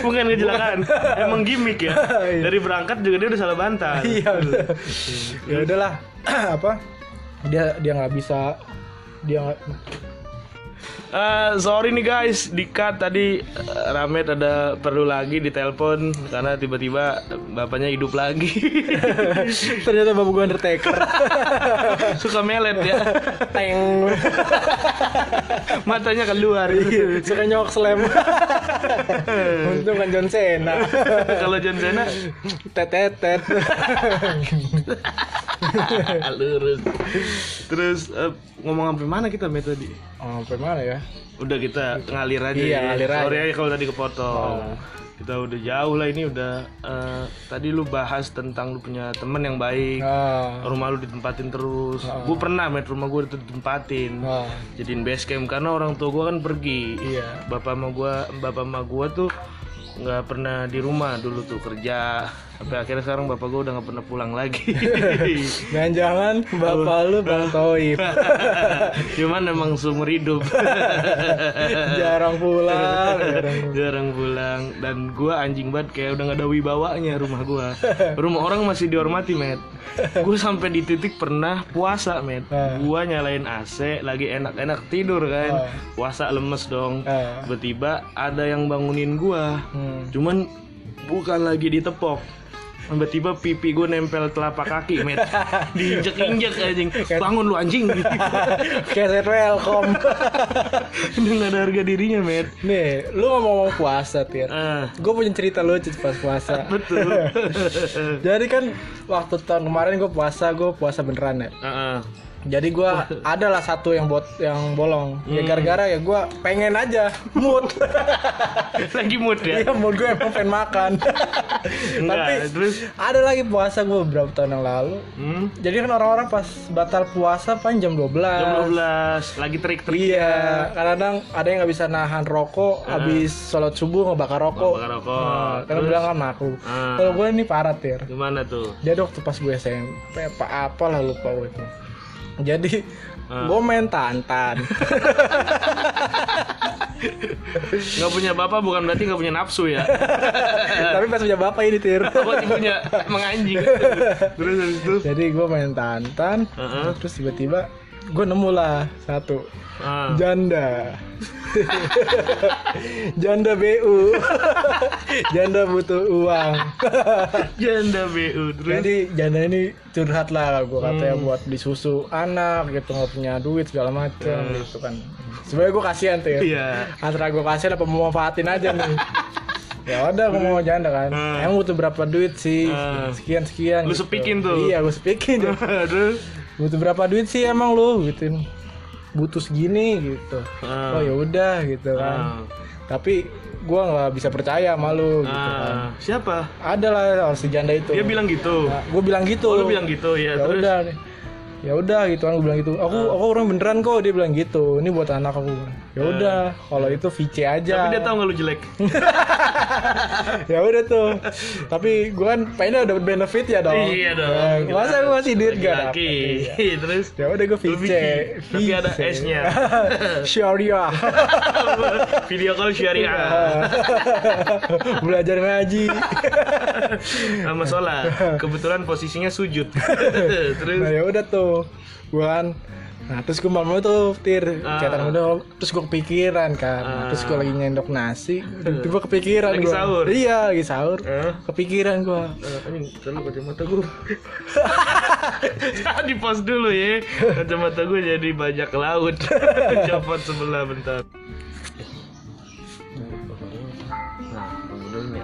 Speaker 1: Bukan kecelakaan. Emang gimmick ya.
Speaker 2: Iya.
Speaker 1: Dari berangkat juga dia udah salah bantal.
Speaker 2: Iya. udah. ya udahlah. apa? Dia dia nggak bisa dia nggak-
Speaker 1: Eh Eh, sorry nih guys, dikat tadi eh, Ramet ada perlu lagi di telepon karena tiba-tiba bapaknya hidup lagi.
Speaker 2: Ternyata babu gue Undertaker.
Speaker 1: Suka melet ya.
Speaker 2: Teng.
Speaker 1: Matanya keluar.
Speaker 2: Suka nyok slam. Untung kan John Cena.
Speaker 1: Kalau John Cena
Speaker 2: Tetetet.
Speaker 1: lurus. Terus eh, ngomong sampai mana kita Met tadi?
Speaker 2: Oh, sampai mana ya?
Speaker 1: Udah kita ngalir aja.
Speaker 2: Iya,
Speaker 1: ya.
Speaker 2: ngalir aja. Oh.
Speaker 1: Sorry aja kalau tadi kepotong. Kita udah jauh lah ini udah eh, tadi lu bahas tentang lu punya temen yang baik.
Speaker 2: Ah.
Speaker 1: rumah lu ditempatin terus Gua pernah met rumah gue ditempatin
Speaker 2: Ah.
Speaker 1: jadiin base camp karena orang tua gue kan pergi
Speaker 2: Iya.
Speaker 1: bapak sama gue bapak sama gue tuh nggak pernah di rumah dulu tuh kerja sampai akhirnya sekarang bapak gue udah nggak pernah pulang lagi
Speaker 2: Dan jangan bapak lu Bang Toib.
Speaker 1: cuman emang seumur hidup
Speaker 2: jarang pulang. jarang.
Speaker 1: jarang pulang dan gue anjing banget kayak udah nggak ada wibawanya rumah gue rumah orang masih dihormati met gue sampai di titik pernah puasa met
Speaker 2: Ah.
Speaker 1: gue nyalain AC lagi enak-enak tidur kan
Speaker 2: Ah.
Speaker 1: puasa lemes dong
Speaker 2: Ah.
Speaker 1: tiba-tiba ada yang bangunin gue
Speaker 2: Hmm.
Speaker 1: cuman bukan lagi ditepok tiba-tiba pipi gue nempel telapak kaki met diinjek-injek anjing
Speaker 2: Kan.
Speaker 1: bangun lu anjing
Speaker 2: Keset welcome.
Speaker 1: udah nggak ada harga dirinya met
Speaker 2: Nih, lu ngomong-ngomong puasa, Tir.
Speaker 1: Ah,
Speaker 2: Gue punya cerita lucu pas puasa.
Speaker 1: betul
Speaker 2: Jadi kan waktu tahun kemarin gue puasa, gue puasa beneran ya.
Speaker 1: Ah, ah.
Speaker 2: Jadi gue ada lah satu yang buat yang bolong. Ya
Speaker 1: Hmm.
Speaker 2: gara-gara ya gue pengen aja mood.
Speaker 1: lagi mood ya
Speaker 2: Iya mood gue emang pengen makan. Tapi
Speaker 1: enggak terus
Speaker 2: ada lagi puasa gue beberapa tahun yang lalu.
Speaker 1: hmm,
Speaker 2: Jadi kan orang-orang pas batal puasa paling jam 12.
Speaker 1: jam 12 lagi trik-trik
Speaker 2: Iya, kadang-kadang ada yang nggak bisa nahan rokok, habis sholat subuh ngebakar rokok.
Speaker 1: bakar rokok.
Speaker 2: Nah, karena
Speaker 1: Terus?
Speaker 2: bilang kan aku.
Speaker 1: Ah.
Speaker 2: Kalau gue ini parah tir.
Speaker 1: gimana tuh
Speaker 2: Jadi waktu pas gue SMP apa apalah lupa gue itu. Jadi
Speaker 1: Ah.
Speaker 2: gue main tantan.
Speaker 1: nggak punya bapak bukan berarti nggak punya nafsu ya
Speaker 2: Tapi pas punya bapak ini tir.
Speaker 1: apa sih punya emang anjing terus habis itu
Speaker 2: Jadi gue main tantan.
Speaker 1: Heeh.
Speaker 2: Terus tiba-tiba gue nemu lah satu
Speaker 1: ah,
Speaker 2: janda. janda BU. janda butuh uang.
Speaker 1: janda bu terus Hmm.
Speaker 2: Jadi janda ini curhat lah gue katanya buat beli susu anak gitu nggak punya duit segala macam gitu kan. Sebenarnya gue kasihan tuh ya.
Speaker 1: Ah. iya
Speaker 2: Antara gue kasihan apa mau manfaatin aja nih. ya udah gue mau janda kan.
Speaker 1: Hmm.
Speaker 2: Emang butuh berapa duit sih?
Speaker 1: Hmm.
Speaker 2: Sekian sekian.
Speaker 1: Lu sepikin tuh. Ah.
Speaker 2: Iya gue sepikin. tuh.
Speaker 1: terus
Speaker 2: butuh berapa duit sih emang lu gitu. Butuh segini gitu.
Speaker 1: Hmm.
Speaker 2: Oh ya udah gitu
Speaker 1: Ah.
Speaker 2: kan. Tapi gue nggak bisa percaya sama lu gitu kan.
Speaker 1: Ah, siapa
Speaker 2: Ada lah si janda itu.
Speaker 1: dia bilang gitu
Speaker 2: gue bilang gitu.
Speaker 1: oh, lu bilang gitu ya
Speaker 2: ya
Speaker 1: terus Ah.
Speaker 2: udah deh. ya udah gitu kan gue bilang gitu aku aku orang beneran kok dia bilang gitu ini buat anak aku ya udah kalau itu VC aja
Speaker 1: tapi dia tahu nggak lu jelek
Speaker 2: ya udah tuh tapi gue kan pengennya dapat benefit ya dong
Speaker 1: iya dong
Speaker 2: Ya, masa gue masih duit gak
Speaker 1: lagi terus
Speaker 2: ya udah
Speaker 1: Lu
Speaker 2: gue VC
Speaker 1: bikin, tapi ada
Speaker 2: VC.
Speaker 1: S-nya.
Speaker 2: syariah
Speaker 1: Video call
Speaker 2: Ya.
Speaker 1: syariah
Speaker 2: belajar ngaji
Speaker 1: sama sholat. Kebetulan posisinya sujud.
Speaker 2: nah
Speaker 1: Terus
Speaker 2: ya udah tuh gue kan nah terus gue malam tuh tir
Speaker 1: Ah.
Speaker 2: catatan udah terus gue kepikiran kan Nah, terus gue lagi nyendok nasi tiba kepikiran
Speaker 1: Lagi
Speaker 2: gue
Speaker 1: sahur?
Speaker 2: iya lagi sahur
Speaker 1: Eh?
Speaker 2: kepikiran gue
Speaker 1: ini terlalu kacamata gue. di pos dulu ya. Kacamata gue jadi bajak laut. Copot sebelah bentar. Nah, kemudian nih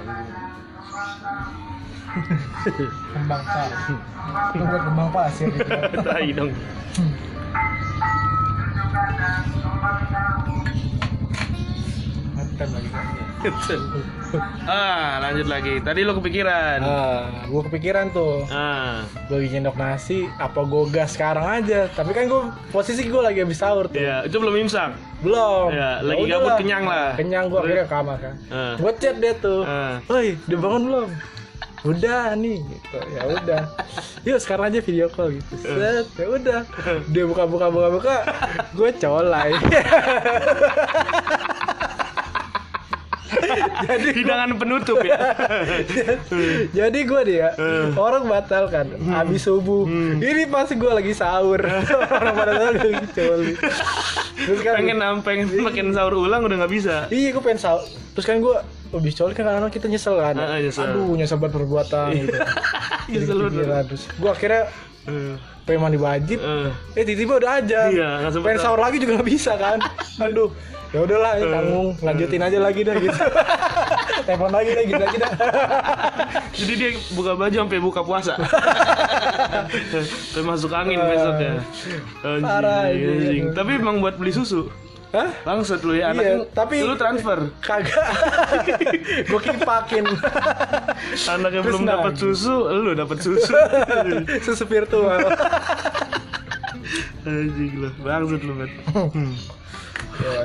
Speaker 2: kembang pasir buat kembang pasir
Speaker 1: Tai dong.
Speaker 2: ngetem lagi
Speaker 1: ah, lanjut lagi. Tadi lo kepikiran.
Speaker 2: ah gue kepikiran tuh
Speaker 1: Ah,
Speaker 2: gue lagi nyendok nasi apa gue gas sekarang aja tapi kan gue posisi gue lagi habis sahur tuh
Speaker 1: ya, itu belum imsak.
Speaker 2: belum
Speaker 1: Iya,
Speaker 2: Ya
Speaker 1: lagi
Speaker 2: udah
Speaker 1: gabut, kenyang lah.
Speaker 2: kenyang gue
Speaker 1: Terus?
Speaker 2: akhirnya ke kamar kan
Speaker 1: Ah.
Speaker 2: gue chat dia tuh
Speaker 1: Ah.
Speaker 2: Woi, udah bangun belum? Udah nih, gitu. Ya udah. Yuk sekarang aja video call gitu.
Speaker 1: Eh.
Speaker 2: Set, ya udah. Dia buka-buka buka-buka, gue colai.
Speaker 1: Hidangan penutup ya.
Speaker 2: Jadi gue dia
Speaker 1: Eh.
Speaker 2: orang batal kan,
Speaker 1: Hmm.
Speaker 2: habis subuh. Ini pas gue lagi sahur. orang pada sahur gue lagi coli. Terus kan
Speaker 1: pengen am- pengen makin sahur ulang udah nggak bisa
Speaker 2: Iya gue pengen sahur Terus kan gue Habis coli kan kadang-kadang kita nyesel kan
Speaker 1: Ah, nyesel. Iya.
Speaker 2: Aduh nyesel banget perbuatan gitu Jadi
Speaker 1: Nyesel banget.
Speaker 2: kepikiran. Terus gue akhirnya
Speaker 1: Eh,
Speaker 2: pengen mandi wajib
Speaker 1: eh.
Speaker 2: Eh tiba-tiba udah aja
Speaker 1: Iya, nggak sempet.
Speaker 2: Pengen sahur lagi juga gak bisa kan Aduh ya udahlah
Speaker 1: Eh.
Speaker 2: ini tanggung lanjutin aja lagi dah gitu telepon lagi dah gitu lagi dah
Speaker 1: jadi dia buka baju sampai buka puasa sampai masuk angin besok ya Anjing,
Speaker 2: Parah, anjing.
Speaker 1: anjing. tapi emang buat beli susu
Speaker 2: Hah?
Speaker 1: langsung lu ya anak
Speaker 2: Iya,
Speaker 1: lu-
Speaker 2: tapi-
Speaker 1: lu transfer
Speaker 2: kagak gue kipakin
Speaker 1: anak yang
Speaker 2: Terus
Speaker 1: belum dapat
Speaker 2: nagih.
Speaker 1: susu lu dapat susu
Speaker 2: susu virtual
Speaker 1: anjing lu bangsat lu bet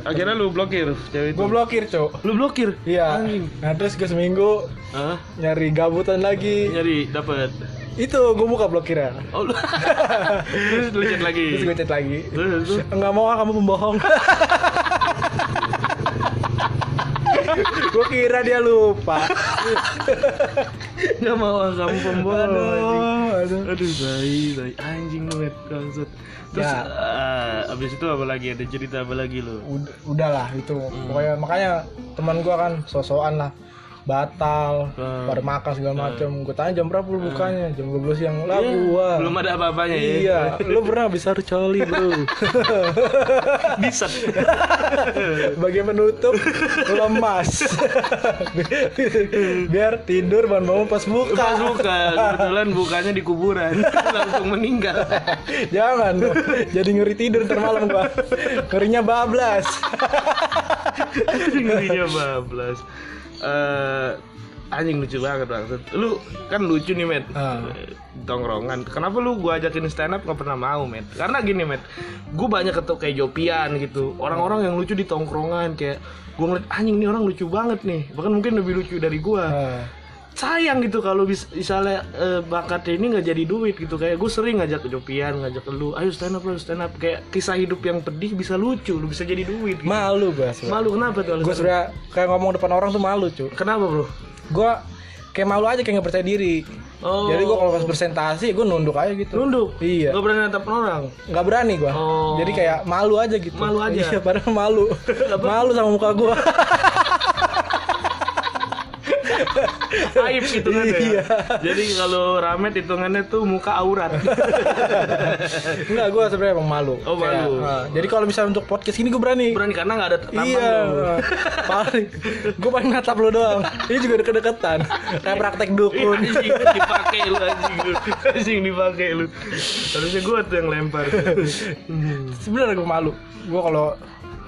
Speaker 1: akhirnya lu blokir cewek itu
Speaker 2: gue blokir cok
Speaker 1: lu blokir
Speaker 2: iya
Speaker 1: anjing
Speaker 2: nah terus gue seminggu
Speaker 1: Hah?
Speaker 2: nyari gabutan lagi
Speaker 1: nyari dapat
Speaker 2: itu gue buka blokirnya
Speaker 1: oh lu terus lu chat lagi
Speaker 2: terus gue chat lagi
Speaker 1: terus terus.
Speaker 2: nggak mau ah kamu pembohong gue kira dia lupa
Speaker 1: nggak mau ah, kamu pembohong anjing.
Speaker 2: aduh.
Speaker 1: Aduh, bayi, bayi. Anjing lu, Met. Bangsat. Terus,
Speaker 2: Ya.
Speaker 1: eh, abis itu apa lagi? Ada cerita apa lagi lu?
Speaker 2: Ud- udahlah itu
Speaker 1: Hmm.
Speaker 2: pokoknya makanya teman gua kan sosokan lah batal
Speaker 1: Hmm.
Speaker 2: pada makan segala macam gue tanya jam berapa lu bukanya jam 12 siang lah
Speaker 1: Ya,
Speaker 2: gua
Speaker 1: Belum ada apa-apanya ya?
Speaker 2: iya lu pernah bisa harus coli bro
Speaker 1: Bisa.
Speaker 2: bagi penutup lemas biar tidur bangun bangun pas buka
Speaker 1: Pas buka, kan kebetulan bukanya di kuburan. Langsung meninggal.
Speaker 2: jangan dong. jadi ngeri tidur ntar malam gua ngerinya bablas
Speaker 1: Ngerinya bablas. Eh, anjing lucu banget bangsat. Lu kan lucu nih, Met. Eh,
Speaker 2: Ah.
Speaker 1: tongkrongan. Kenapa lu gua ajakin stand up gak pernah mau, Met? Karena gini, Met. Gua banyak ketemu kayak Jopian gitu. Orang-orang yang lucu di tongkrongan kayak gua ngeliat anjing nih orang lucu banget nih. Bahkan mungkin lebih lucu dari gua.
Speaker 2: Ah.
Speaker 1: Sayang gitu kalau bis- misalnya eh, bakatnya ini nggak jadi duit gitu. Kayak gue sering ngajak Jopian, ngajak lu, ayo stand up, ayo stand up. Kayak kisah hidup yang pedih bisa lucu, lu bisa jadi duit. Gitu.
Speaker 2: malu gua sebenernya.
Speaker 1: Malu kenapa tuh?
Speaker 2: gua
Speaker 1: alasan?
Speaker 2: sebenernya kayak ngomong depan orang tuh malu cuy
Speaker 1: Kenapa, Bro?
Speaker 2: gue kayak malu aja kayak nggak percaya diri
Speaker 1: Oh.
Speaker 2: jadi gue kalau pas presentasi gue nunduk aja gitu
Speaker 1: Nunduk.
Speaker 2: Iya.
Speaker 1: Gak berani natap orang.
Speaker 2: nggak berani gue
Speaker 1: Oh.
Speaker 2: jadi kayak malu aja gitu
Speaker 1: Malu aja.
Speaker 2: iya padahal malu malu sama muka gue
Speaker 1: aib hitungannya ya.
Speaker 2: Iya.
Speaker 1: Jadi kalau ramet hitungannya tuh muka aurat.
Speaker 2: nggak gue sebenarnya emang malu
Speaker 1: Oh, malu.
Speaker 2: nah, jadi kalau misalnya untuk podcast ini gue berani,
Speaker 1: Berani karena nggak ada tampang
Speaker 2: iya
Speaker 1: dong.
Speaker 2: paling gue paling natap lo doang ini juga deket-deketan kayak praktek
Speaker 1: Ih,
Speaker 2: dukun
Speaker 1: anjing dipakai lu anjing lu. Anjing dipakai lu. Harusnya gua tuh yang lempar.
Speaker 2: sebenarnya gue malu gue kalau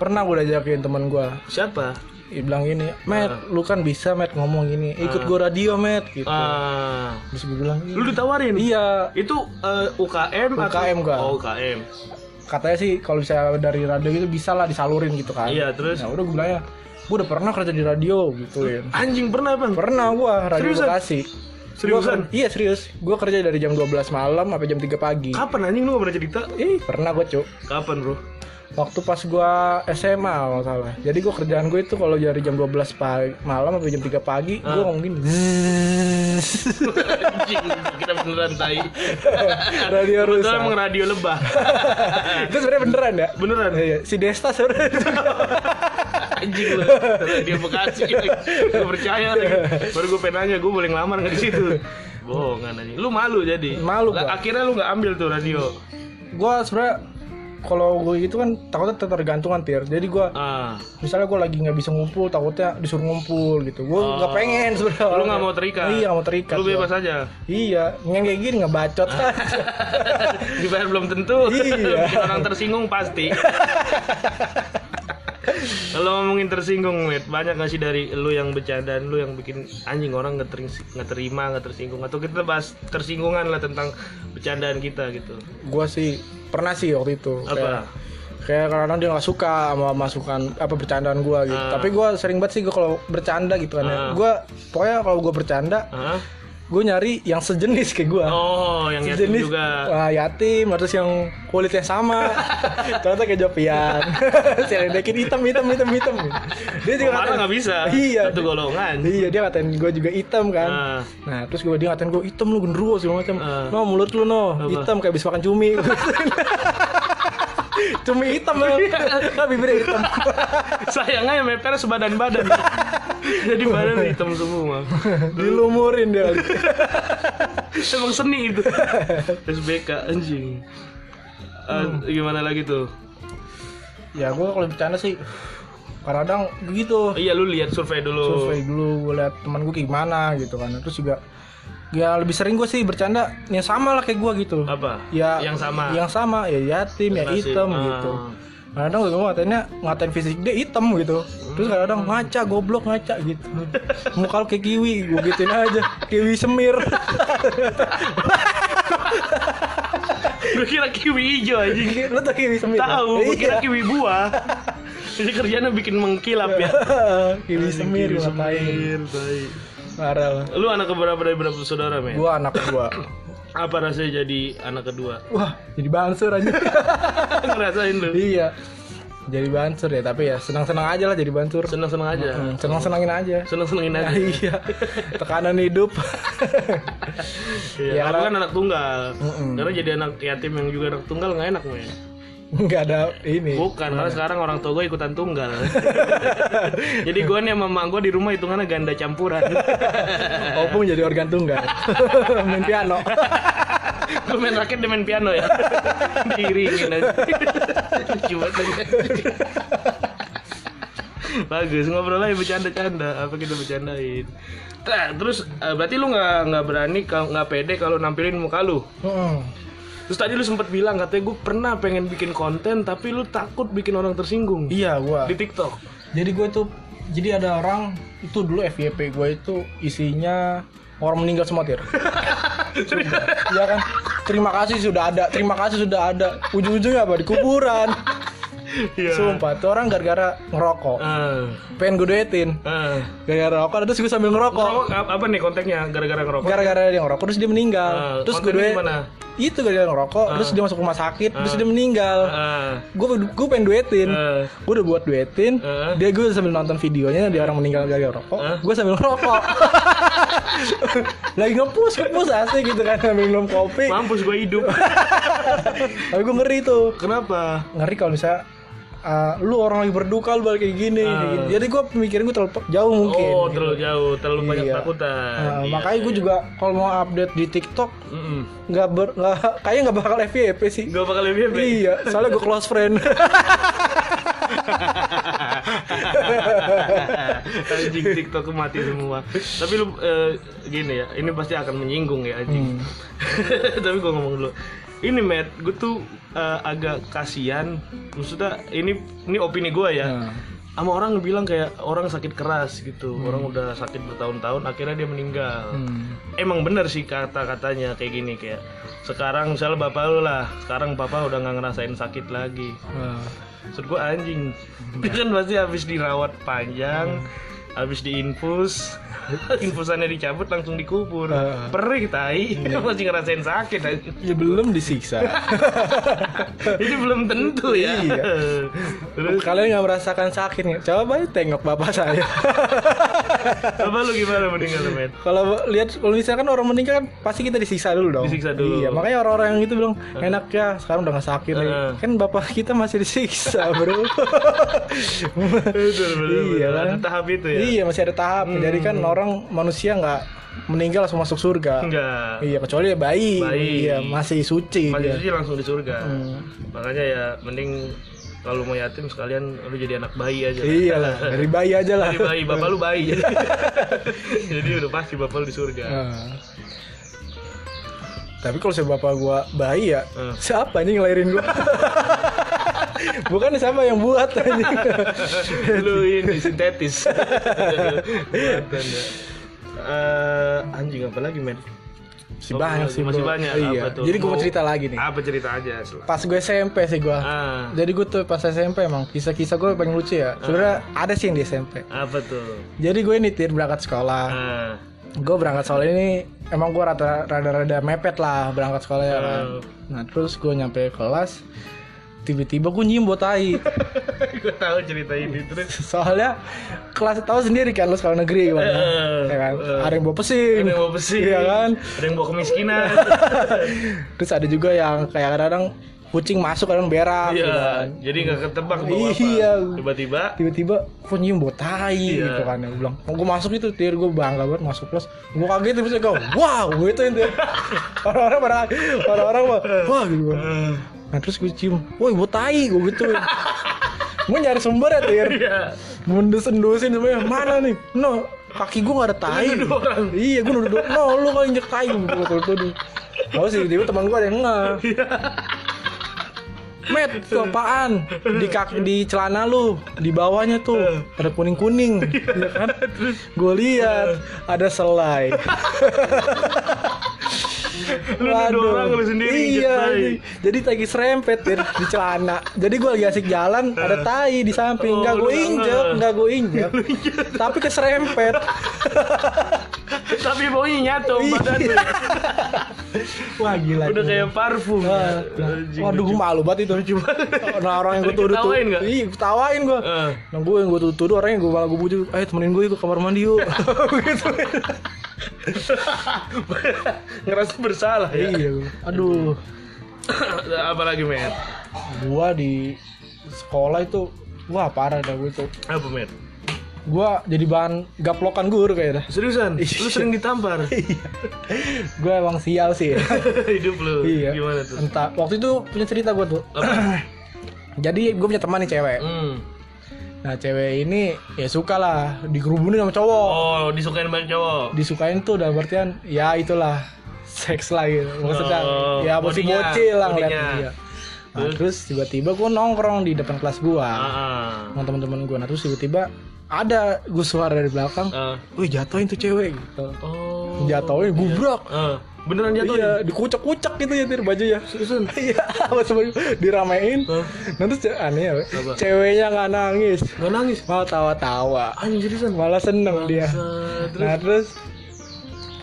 Speaker 2: pernah gue udah ajakin teman gue
Speaker 1: Siapa?
Speaker 2: Dia bilang gini, Matt, lu kan bisa Matt ngomong gini, ikut gua radio Matt gitu.
Speaker 1: Ah,
Speaker 2: Terus gue bilang,
Speaker 1: lu ditawarin?
Speaker 2: iya.
Speaker 1: Itu eh, UKM atau
Speaker 2: UKM gua.
Speaker 1: Oh, UKM.
Speaker 2: Katanya sih kalau bisa dari radio gitu bisa lah disalurin gitu kan.
Speaker 1: Iya, terus
Speaker 2: Nah udah gue bilang ya, gue udah pernah kerja di radio gituin.
Speaker 1: anjing pernah, Bang?
Speaker 2: Pernah gua radio
Speaker 1: Seriusan?
Speaker 2: Bekasi.
Speaker 1: Seriusan?
Speaker 2: Gua- iya serius, gue kerja dari jam 12 malam sampai jam 3 pagi.
Speaker 1: Kapan anjing lu gak pernah cerita?
Speaker 2: Ih, pernah gue cuk.
Speaker 1: Kapan, Bro?
Speaker 2: Waktu pas gua SMA kalau nggak salah. Jadi gua kerjaan gue itu kalau dari jam 12 pagi malam sampai jam 3 pagi,
Speaker 1: Ah.
Speaker 2: gua ngomong gini. "Zzzz."
Speaker 1: Anjing, kita beneran tai.
Speaker 2: radio
Speaker 1: Betul
Speaker 2: rusak.
Speaker 1: emang radio lebah.
Speaker 2: itu sebenarnya beneran ya?
Speaker 1: Beneran.
Speaker 2: Iya, si Desta sebenarnya.
Speaker 1: anjing lu dia bekasi gue percaya lagi baru gue pengen nanya gue boleh ngelamar nggak di situ bohongan anjing lu malu jadi
Speaker 2: Malu
Speaker 1: Lah,
Speaker 2: gua.
Speaker 1: akhirnya lu nggak ambil tuh radio
Speaker 2: gue sebenarnya kalau gue gitu kan takutnya ketergantungan tir. Jadi gue
Speaker 1: ah
Speaker 2: misalnya gue lagi nggak bisa ngumpul, takutnya disuruh ngumpul gitu. Gue nggak pengen
Speaker 1: Oh.
Speaker 2: sebenarnya.
Speaker 1: lu
Speaker 2: orangnya.
Speaker 1: nggak mau terikat
Speaker 2: Iya nggak mau terikat.
Speaker 1: lu
Speaker 2: gua.
Speaker 1: bebas Ah. aja
Speaker 2: Iya, yang kayak gini nggak bacot kan.
Speaker 1: dibayar belum tentu
Speaker 2: Iya.
Speaker 1: Bikin orang tersinggung pasti Kalau ngomongin tersinggung, Mit, banyak gak sih dari lu yang bercandaan lu yang bikin anjing orang nggak terings- nggak terima, nggak tersinggung atau kita bahas tersinggungan lah tentang bercandaan kita gitu.
Speaker 2: gue sih pernah sih waktu itu.
Speaker 1: Apa?
Speaker 2: Kayak, kayak kadang-kadang dia nggak suka sama masukan apa bercandaan gue gitu.
Speaker 1: Ah.
Speaker 2: Tapi gue sering banget sih gue kalau bercanda gitu kan. ya. Gue pokoknya kalau gue bercanda,
Speaker 1: Hah?
Speaker 2: gue nyari yang sejenis kayak gue.
Speaker 1: Oh, yang yatim
Speaker 2: Sejenis
Speaker 1: juga.
Speaker 2: Wah, yatim harus yang kulitnya sama. Contoh kayak Jopian. Seledekin hitam hitam hitam hitam. Dia juga
Speaker 1: Marah nggak bisa.
Speaker 2: Iya.
Speaker 1: Satu golongan.
Speaker 2: Iya, dia katain gue juga hitam kan.
Speaker 1: Nah,
Speaker 2: Nah, terus gue dia ngatain gue hitam lu genderuwo segala macam.
Speaker 1: Ah.
Speaker 2: No, mulut lu no, hitam kayak habis makan cumi. Cumi hitam loh. Kan bibirnya hitam.
Speaker 1: Sayangnya meper sebadan badan. Jadi badan hitam semua.
Speaker 2: Dilumurin dia.
Speaker 1: Emang seni itu. SBK anjing. Eh, gimana lagi tuh?
Speaker 2: ya gue kalau bercanda sih kadang
Speaker 1: Oh,
Speaker 2: begitu.
Speaker 1: iya lu lihat survei dulu.
Speaker 2: survei dulu gue liat teman gue kayak gimana gitu kan terus juga ya lebih sering gue sih bercanda yang sama lah kayak gue gitu
Speaker 1: Apa?
Speaker 2: ya
Speaker 1: yang sama.
Speaker 2: yang sama ya yatim ya
Speaker 1: Nasib.
Speaker 2: hitam
Speaker 1: Ah.
Speaker 2: gitu kadang gue ngatainnya ngatain fisik dia hitam gitu terus kadang
Speaker 1: Hmm.
Speaker 2: ngaca goblok ngaca gitu muka lu kayak kiwi gue gituin aja kiwi semir
Speaker 1: Gue kira kiwi hijau anjing.
Speaker 2: lu tuh kiwi semir
Speaker 1: Tahu,
Speaker 2: kan?
Speaker 1: gue kira
Speaker 2: Iya.
Speaker 1: kiwi buah. Jadi kerjanya bikin mengkilap ya.
Speaker 2: kiwi semir
Speaker 1: Kiwi
Speaker 2: ngatain
Speaker 1: semir, tai.
Speaker 2: parah lah.
Speaker 1: Lu anak keberapa dari berapa saudara, men?
Speaker 2: gue anak kedua
Speaker 1: Apa rasanya jadi anak kedua?
Speaker 2: wah jadi bangsur aja
Speaker 1: Ngerasain lu.
Speaker 2: Iya. Jadi bansur ya, tapi ya senang-senang aja lah jadi bansur.
Speaker 1: Seneng-seneng aja.
Speaker 2: Hmm, Senang-senangin aja.
Speaker 1: Seneng-senengin aja.
Speaker 2: iya. Tekanan hidup.
Speaker 1: Iya,
Speaker 2: Ya,
Speaker 1: karena
Speaker 2: karena-
Speaker 1: kan anak tunggal.
Speaker 2: Mm-mm.
Speaker 1: Karena jadi anak yatim yang juga anak tunggal nggak enak, men.
Speaker 2: Enggak ada ini.
Speaker 1: Bukan, karena sekarang orang tua gue ikutan tunggal. jadi gue nih sama emak gue di rumah hitungannya ganda campuran.
Speaker 2: Opung jadi organ tunggal. Main piano.
Speaker 1: gue main raket dia main piano ya. Diiringin aja. Lucu banget lagi. Bagus, ngobrol aja bercanda-canda. Apa kita bercandain? Nah, terus eh, berarti lu nggak nggak berani kalau- nggak pede kalau nampilin muka lu.
Speaker 2: Mm-mm.
Speaker 1: Terus tadi lu sempat bilang katanya gue pernah pengen bikin konten tapi lu takut bikin orang tersinggung
Speaker 2: Iya, gua.
Speaker 1: di TikTok.
Speaker 2: Jadi gue tuh jadi ada orang itu dulu FYP gue itu isinya orang meninggal semua tir. Iya kan? Terima kasih sudah ada, terima kasih sudah ada. Ujung-ujungnya apa? Di kuburan.
Speaker 1: Iya.
Speaker 2: Sumpah, tuh orang gara-gara ngerokok.
Speaker 1: Eh,
Speaker 2: Pengen gue duetin.
Speaker 1: eh.
Speaker 2: gara-gara rokok terus gue sambil ngerokok
Speaker 1: Ngerokok ap- apa nih konteksnya gara-gara ngerokok? iya.
Speaker 2: gara-gara dia ngerokok terus dia meninggal
Speaker 1: Eh,
Speaker 2: terus gue
Speaker 1: kontennya
Speaker 2: duet
Speaker 1: gimana?
Speaker 2: itu gara-gara ngerokok terus dia masuk rumah sakit terus dia meninggal
Speaker 1: Eh,
Speaker 2: gue gue pengen duetin
Speaker 1: eh.
Speaker 2: gue udah buat duetin
Speaker 1: Eh.
Speaker 2: dia gue sambil nonton videonya dia orang meninggal gara-gara rokok
Speaker 1: Eh.
Speaker 2: gue sambil ngerokok lagi ngepus ngepus asli gitu kan sambil minum kopi
Speaker 1: Mampus gue hidup.
Speaker 2: tapi gue ngeri tuh
Speaker 1: Kenapa?
Speaker 2: ngeri kalau misalnya uh, lu orang lagi berduka lu balik kayak gini, kayak gini. jadi gue pemikiran gue terlalu jauh mungkin
Speaker 1: Eh. Oh, terlalu jauh, terlalu banyak
Speaker 2: Iya.
Speaker 1: takutan.
Speaker 2: Nah,
Speaker 1: Iya.
Speaker 2: makanya gue juga kalau mau update di TikTok
Speaker 1: Mm-mm.
Speaker 2: nggak ber nggak kayaknya nggak bakal FYP sih
Speaker 1: Gak bakal lebih apa? ya?
Speaker 2: iya soalnya gue close friend
Speaker 1: anjing TikTok mati semua. Tapi lu eh, gini ya, ini pasti akan menyinggung ya anjing.
Speaker 2: Hmm,
Speaker 1: Tapi gua ngomong dulu. Ini Matt, gue tuh eh, agak kasihan. Maksudnya ini ini opini gua
Speaker 2: Nah.
Speaker 1: ya. Sama orang bilang kayak orang sakit keras gitu.
Speaker 2: Hmm.
Speaker 1: Orang udah sakit bertahun-tahun akhirnya dia meninggal. Emang bener sih kata-katanya kayak gini kayak sekarang misalnya bapak lu lah, sekarang bapak udah nggak ngerasain sakit lagi.
Speaker 2: hmm.
Speaker 1: Maksud gue anjing Dia kan pasti habis dirawat panjang
Speaker 2: Hmm.
Speaker 1: Habis diinfus Infusannya dicabut langsung dikubur
Speaker 2: Ah. Iya.
Speaker 1: Perih tai Masih ngerasain sakit anjing.
Speaker 2: ya belum disiksa
Speaker 1: Jadi belum tentu ya
Speaker 2: Iya.
Speaker 1: Terus
Speaker 2: kalian nggak merasakan sakit nggak coba aja tengok bapak saya
Speaker 1: apa lu gimana meninggal Met?
Speaker 2: kalau lihat kalau misalkan orang meninggal kan pasti kita disiksa dulu dong
Speaker 1: Disiksa dulu.
Speaker 2: iya makanya orang-orang yang itu bilang enak ya sekarang udah nggak sakit lagi
Speaker 1: Heeh.
Speaker 2: kan bapak kita masih disiksa bro
Speaker 1: Betul, betul,
Speaker 2: Iya,
Speaker 1: betul. Ada
Speaker 2: kan?
Speaker 1: tahap itu ya?
Speaker 2: Iya masih ada tahap. Jadi kan orang manusia nggak meninggal langsung masuk surga.
Speaker 1: hmm. Enggak
Speaker 2: Iya kecuali ya bayi.
Speaker 1: Bayi.
Speaker 2: Iya masih suci.
Speaker 1: Masih
Speaker 2: dia.
Speaker 1: suci langsung di surga
Speaker 2: Hmm.
Speaker 1: Makanya ya mending kalau mau yatim sekalian lu jadi anak bayi aja
Speaker 2: Iya lah dari bayi aja lah.
Speaker 1: Jadi ya. bayi, bapak lu bayi jadi, jadi udah pasti bapak lu di surga
Speaker 2: Nah. Tapi kalau saya bapak gua bayi ya,
Speaker 1: Hmm.
Speaker 2: siapa ini ngelahirin gua? Bukan siapa yang buat ini.
Speaker 1: lu ini sintetis Kelihatan ya. Eh, anjing apa lagi men
Speaker 2: Masih banyak sih.
Speaker 1: masih
Speaker 2: bro.
Speaker 1: banyak
Speaker 2: Iya.
Speaker 1: apa tuh?
Speaker 2: Jadi gua mau
Speaker 1: Mau-
Speaker 2: cerita lagi nih.
Speaker 1: apa cerita aja Sel?
Speaker 2: Pas gue SMP sih gua.
Speaker 1: ah
Speaker 2: Jadi gue tuh pas SMP emang kisah-kisah gue paling lucu ya. Sebenernya ada sih yang di SMP.
Speaker 1: apa tuh
Speaker 2: Jadi gue nitir berangkat sekolah.
Speaker 1: ah
Speaker 2: Gue berangkat sekolah ini emang gue rada- rada-rada mepet lah berangkat sekolah ya kan.
Speaker 1: Hmm.
Speaker 2: Nah terus gue nyampe kelas, tiba-tiba gue nyium bau tai.
Speaker 1: gue tahu cerita ini terus
Speaker 2: Soalnya kelas tahu sendiri kan lo sekolah negeri gimana,
Speaker 1: Eh,
Speaker 2: ya kan.
Speaker 1: eh.
Speaker 2: Ada yang bawa pesing,
Speaker 1: ada yang bawa besi
Speaker 2: Iya kan.
Speaker 1: ada yang bawa kemiskinan
Speaker 2: Terus ada juga yang kayak kadang-kadang kucing masuk kadang berak
Speaker 1: Iya,
Speaker 2: gitu kan.
Speaker 1: jadi nggak ketebak tuh
Speaker 2: Iya.
Speaker 1: apa. Tiba-tiba
Speaker 2: tiba-tiba kok nyium bau tai
Speaker 1: Iya.
Speaker 2: gitu kan gue bilang oh, gue masuk itu tir gue bangga banget masuk plus gue kaget terus gue wow gitu itu orang-orang pada orang-orang mah, wah gitu kan.
Speaker 1: eh,
Speaker 2: nah terus gue cium woi bau tai gue gitu gue nyari sumber ya tir
Speaker 1: iya.
Speaker 2: mendus-endusin semuanya mana nih no kaki gue gak ada tai
Speaker 1: Lu nuduh orang.
Speaker 2: iya gue nuduh no lu kok injek tai gue betul tuduh Oh sih, tiba teman gue ada yang ngeh.
Speaker 1: Iya.
Speaker 2: Met, itu apaan? Di kaki di celana lu, di bawahnya tuh ada
Speaker 1: Iya.
Speaker 2: kuning-kuning, ya kan? Gue lihat ada selai.
Speaker 1: Lu nuduh
Speaker 2: Waduh.
Speaker 1: orang lu sendiri injek
Speaker 2: Iya.
Speaker 1: tai.
Speaker 2: nih. Jadi tagi serempet di, di celana. Jadi gue lagi asik jalan, ada tai di samping.
Speaker 1: Eh. Oh,
Speaker 2: Enggak gue
Speaker 1: lu
Speaker 2: injek,
Speaker 1: nggak.
Speaker 2: enggak gue injek. Tapi keserempet. Iya.
Speaker 1: Tapi baunya nyatu badan lu.
Speaker 2: Wah gila.
Speaker 1: Udah
Speaker 2: gila.
Speaker 1: kayak parfum. ya.
Speaker 2: Ah,
Speaker 1: Anjing,
Speaker 2: Waduh, gue
Speaker 1: lucu.
Speaker 2: malu banget itu. Nah, orang yang gue tuduh tuh.
Speaker 1: Diketawain nggak?
Speaker 2: Iya, gue tawain gue.
Speaker 1: Eh.
Speaker 2: Nah, gue yang gue tuduh, tuduh orang yang gue malah gue bujuk. Ayo temenin gue yuk ke kamar mandi yuk. gitu.
Speaker 1: ngerasa bersalah ya.
Speaker 2: iya. gua. Aduh.
Speaker 1: Apalagi Met?
Speaker 2: Gue di sekolah itu wah parah dah gue tuh.
Speaker 1: Apa Met?
Speaker 2: Gue jadi bahan gaplokan guru kayaknya. dah.
Speaker 1: Seriusan? Lu
Speaker 2: Iya.
Speaker 1: sering ditampar?
Speaker 2: gue emang sial sih. ya.
Speaker 1: Hidup lu.
Speaker 2: iya.
Speaker 1: Gimana tuh?
Speaker 2: Entah. Waktu itu punya cerita gue tuh.
Speaker 1: Apa?
Speaker 2: Jadi gue punya teman nih cewek.
Speaker 1: Hmm.
Speaker 2: Nah cewek ini ya suka lah dikerubungin sama cowok.
Speaker 1: Oh, disukain banyak cowok.
Speaker 2: disukain tuh dalam artian ya itulah seks lah gitu maksudnya
Speaker 1: Oh,
Speaker 2: ya masih
Speaker 1: bodinya,
Speaker 2: bocil lah
Speaker 1: bodinya.
Speaker 2: ngeliatnya dia. Nah, terus tiba-tiba gue nongkrong di depan kelas gua
Speaker 1: Ah.
Speaker 2: sama teman-teman gua nah terus tiba-tiba ada gue suara dari belakang
Speaker 1: ah.
Speaker 2: wih jatohin tuh cewek gitu
Speaker 1: Oh.
Speaker 2: jatohin gubrak
Speaker 1: Ah. Beneran jatuh?
Speaker 2: iya dikucek-kucek gitu ya tir baju ya
Speaker 1: Seriusan?
Speaker 2: iya apa semuanya diramein
Speaker 1: Hah?
Speaker 2: nanti ce- aneh ya,
Speaker 1: Apa?
Speaker 2: ceweknya nggak nangis
Speaker 1: Gak nangis?
Speaker 2: malah tawa-tawa
Speaker 1: Anjing seriusan?
Speaker 2: malah seneng dia
Speaker 1: Bangsat. Terus?
Speaker 2: Nah terus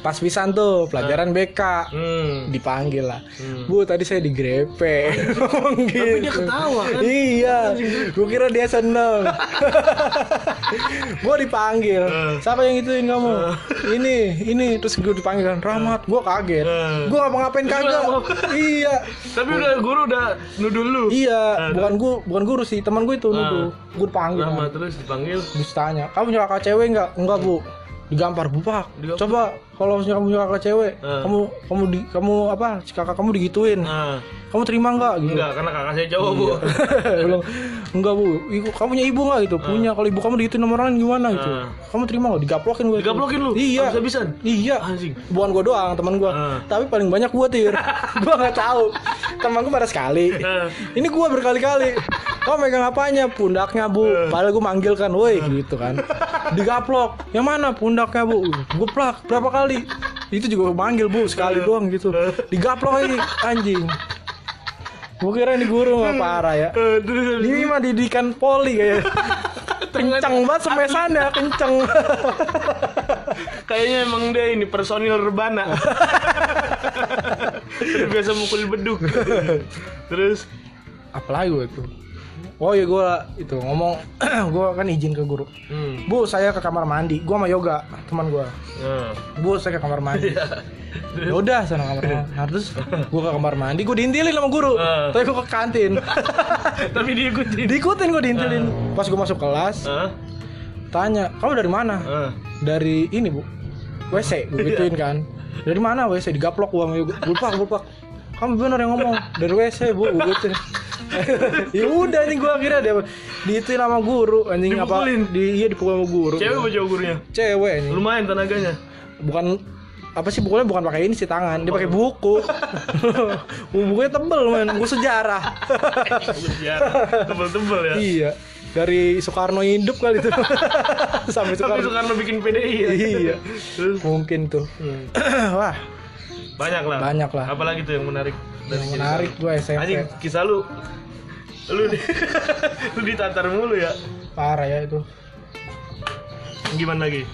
Speaker 2: pas pisan tuh pelajaran BK
Speaker 1: Hmm.
Speaker 2: dipanggil lah.
Speaker 1: Hmm.
Speaker 2: Bu tadi saya digrepe. Ngomong
Speaker 1: Tapi dia
Speaker 2: gitu.
Speaker 1: ketawa kan?
Speaker 2: Iya. Gue kira dia seneng. gue dipanggil.
Speaker 1: Eh.
Speaker 2: Siapa yang gituin kamu?
Speaker 1: Hmm.
Speaker 2: Ini, ini terus gue dipanggil kan Rahmat. Gue kaget.
Speaker 1: Eh.
Speaker 2: Gue ngapa-ngapain kagak.
Speaker 1: ngapa-ngapain.
Speaker 2: iya.
Speaker 1: Tapi udah guru udah nuduh lu.
Speaker 2: Iya,
Speaker 1: Eh,
Speaker 2: bukan gue, bukan guru sih, teman gue itu
Speaker 1: Eh.
Speaker 2: nuduh. Gue dipanggil. kan.
Speaker 1: Lama terus dipanggil.
Speaker 2: Terus tanya, kamu nyelaka cewek nggak? Enggak bu, digampar bu pak.
Speaker 1: Digampar.
Speaker 2: Coba kalau misalnya kamu nyelaka cewek,
Speaker 1: Eh.
Speaker 2: kamu kamu di kamu apa? si Kakak kamu digituin,
Speaker 1: Ah.
Speaker 2: kamu terima nggak? Gitu.
Speaker 1: Enggak, karena kakak saya cowok, Bu.
Speaker 2: Iya. Belum. Enggak bu, ibu, kamu punya ibu nggak
Speaker 1: Ah.
Speaker 2: gitu? Punya. Kalau ibu kamu digituin sama orang lain gimana gitu?
Speaker 1: Eh.
Speaker 2: Kamu terima nggak? Digaplokin gue.
Speaker 1: Digaplokin lu?
Speaker 2: Iya.
Speaker 1: Habis-habisan?
Speaker 2: Iya.
Speaker 1: Anjing.
Speaker 2: Bukan gue doang teman gue,
Speaker 1: Eh.
Speaker 2: tapi paling banyak gue tir. gue nggak tahu. Teman gue pada sekali.
Speaker 1: Eh.
Speaker 2: Ini gua berkali-kali. Kau megang apanya? Pundaknya, Bu.
Speaker 1: Ah.
Speaker 2: Padahal gua manggil kan, woi gitu kan. Digaplok. Yang mana pundaknya, Bu? Gua plak berapa kali? Itu juga gua manggil, Bu,
Speaker 1: Ah.
Speaker 2: sekali doang gitu. Digaplok ini anjing. Gua kira ini guru nggak parah ya.
Speaker 1: Eh, terus habis-
Speaker 2: Ini mah didikan poli kayak kenceng banget semesannya kenceng
Speaker 1: Kayaknya emang dia ini personil rebana. Sudah biasa mukul beduk. Terus
Speaker 2: apalagi gue tuh oh ya gue itu ngomong gua kan izin ke guru
Speaker 1: hmm.
Speaker 2: bu saya ke kamar mandi gua sama yoga teman gua
Speaker 1: Nah.
Speaker 2: bu saya ke kamar mandi ya udah sana kamar mandi nah, terus gue ke kamar mandi gue diintilin sama guru
Speaker 1: Eh.
Speaker 2: tapi gue ke kantin
Speaker 1: Tapi diikuti.
Speaker 2: diikutin gue diintilin pas gue masuk kelas
Speaker 1: Hah?
Speaker 2: tanya kamu dari mana
Speaker 1: Ah.
Speaker 2: dari ini bu wc gue
Speaker 1: Iya.
Speaker 2: gituin kan dari mana wc digaplok gue sama Yoga. gulpak gulpak kamu bener yang ngomong dari wc bu gue gituin ya udah nih gue akhirnya dia diituin sama guru anjing
Speaker 1: Dipukulin?
Speaker 2: apa di iya dipukul sama guru
Speaker 1: Cewek apa cowok gurunya?
Speaker 2: cewek anjing.
Speaker 1: Lumayan tenaganya.
Speaker 2: bukan apa sih bukunya bukan pakai ini sih tangan dia pakai buku bukunya tebel men buku sejarah
Speaker 1: Iya, Tebel-tebel ya.
Speaker 2: iya dari Soekarno hidup kali itu sampai
Speaker 1: Tapi
Speaker 2: Soekarno
Speaker 1: Soekarno bikin PDI ya.
Speaker 2: Iya.
Speaker 1: Terus
Speaker 2: mungkin tuh
Speaker 1: hmm,
Speaker 2: wah
Speaker 1: banyak lah.
Speaker 2: Banyak lah.
Speaker 1: Apalagi tuh yang menarik dari
Speaker 2: yang
Speaker 1: cerita
Speaker 2: menarik
Speaker 1: lu?
Speaker 2: gue
Speaker 1: Anjing
Speaker 2: SMP
Speaker 1: kisah lu lu di, lu ditantar mulu ya.
Speaker 2: parah ya itu
Speaker 1: Gimana lagi?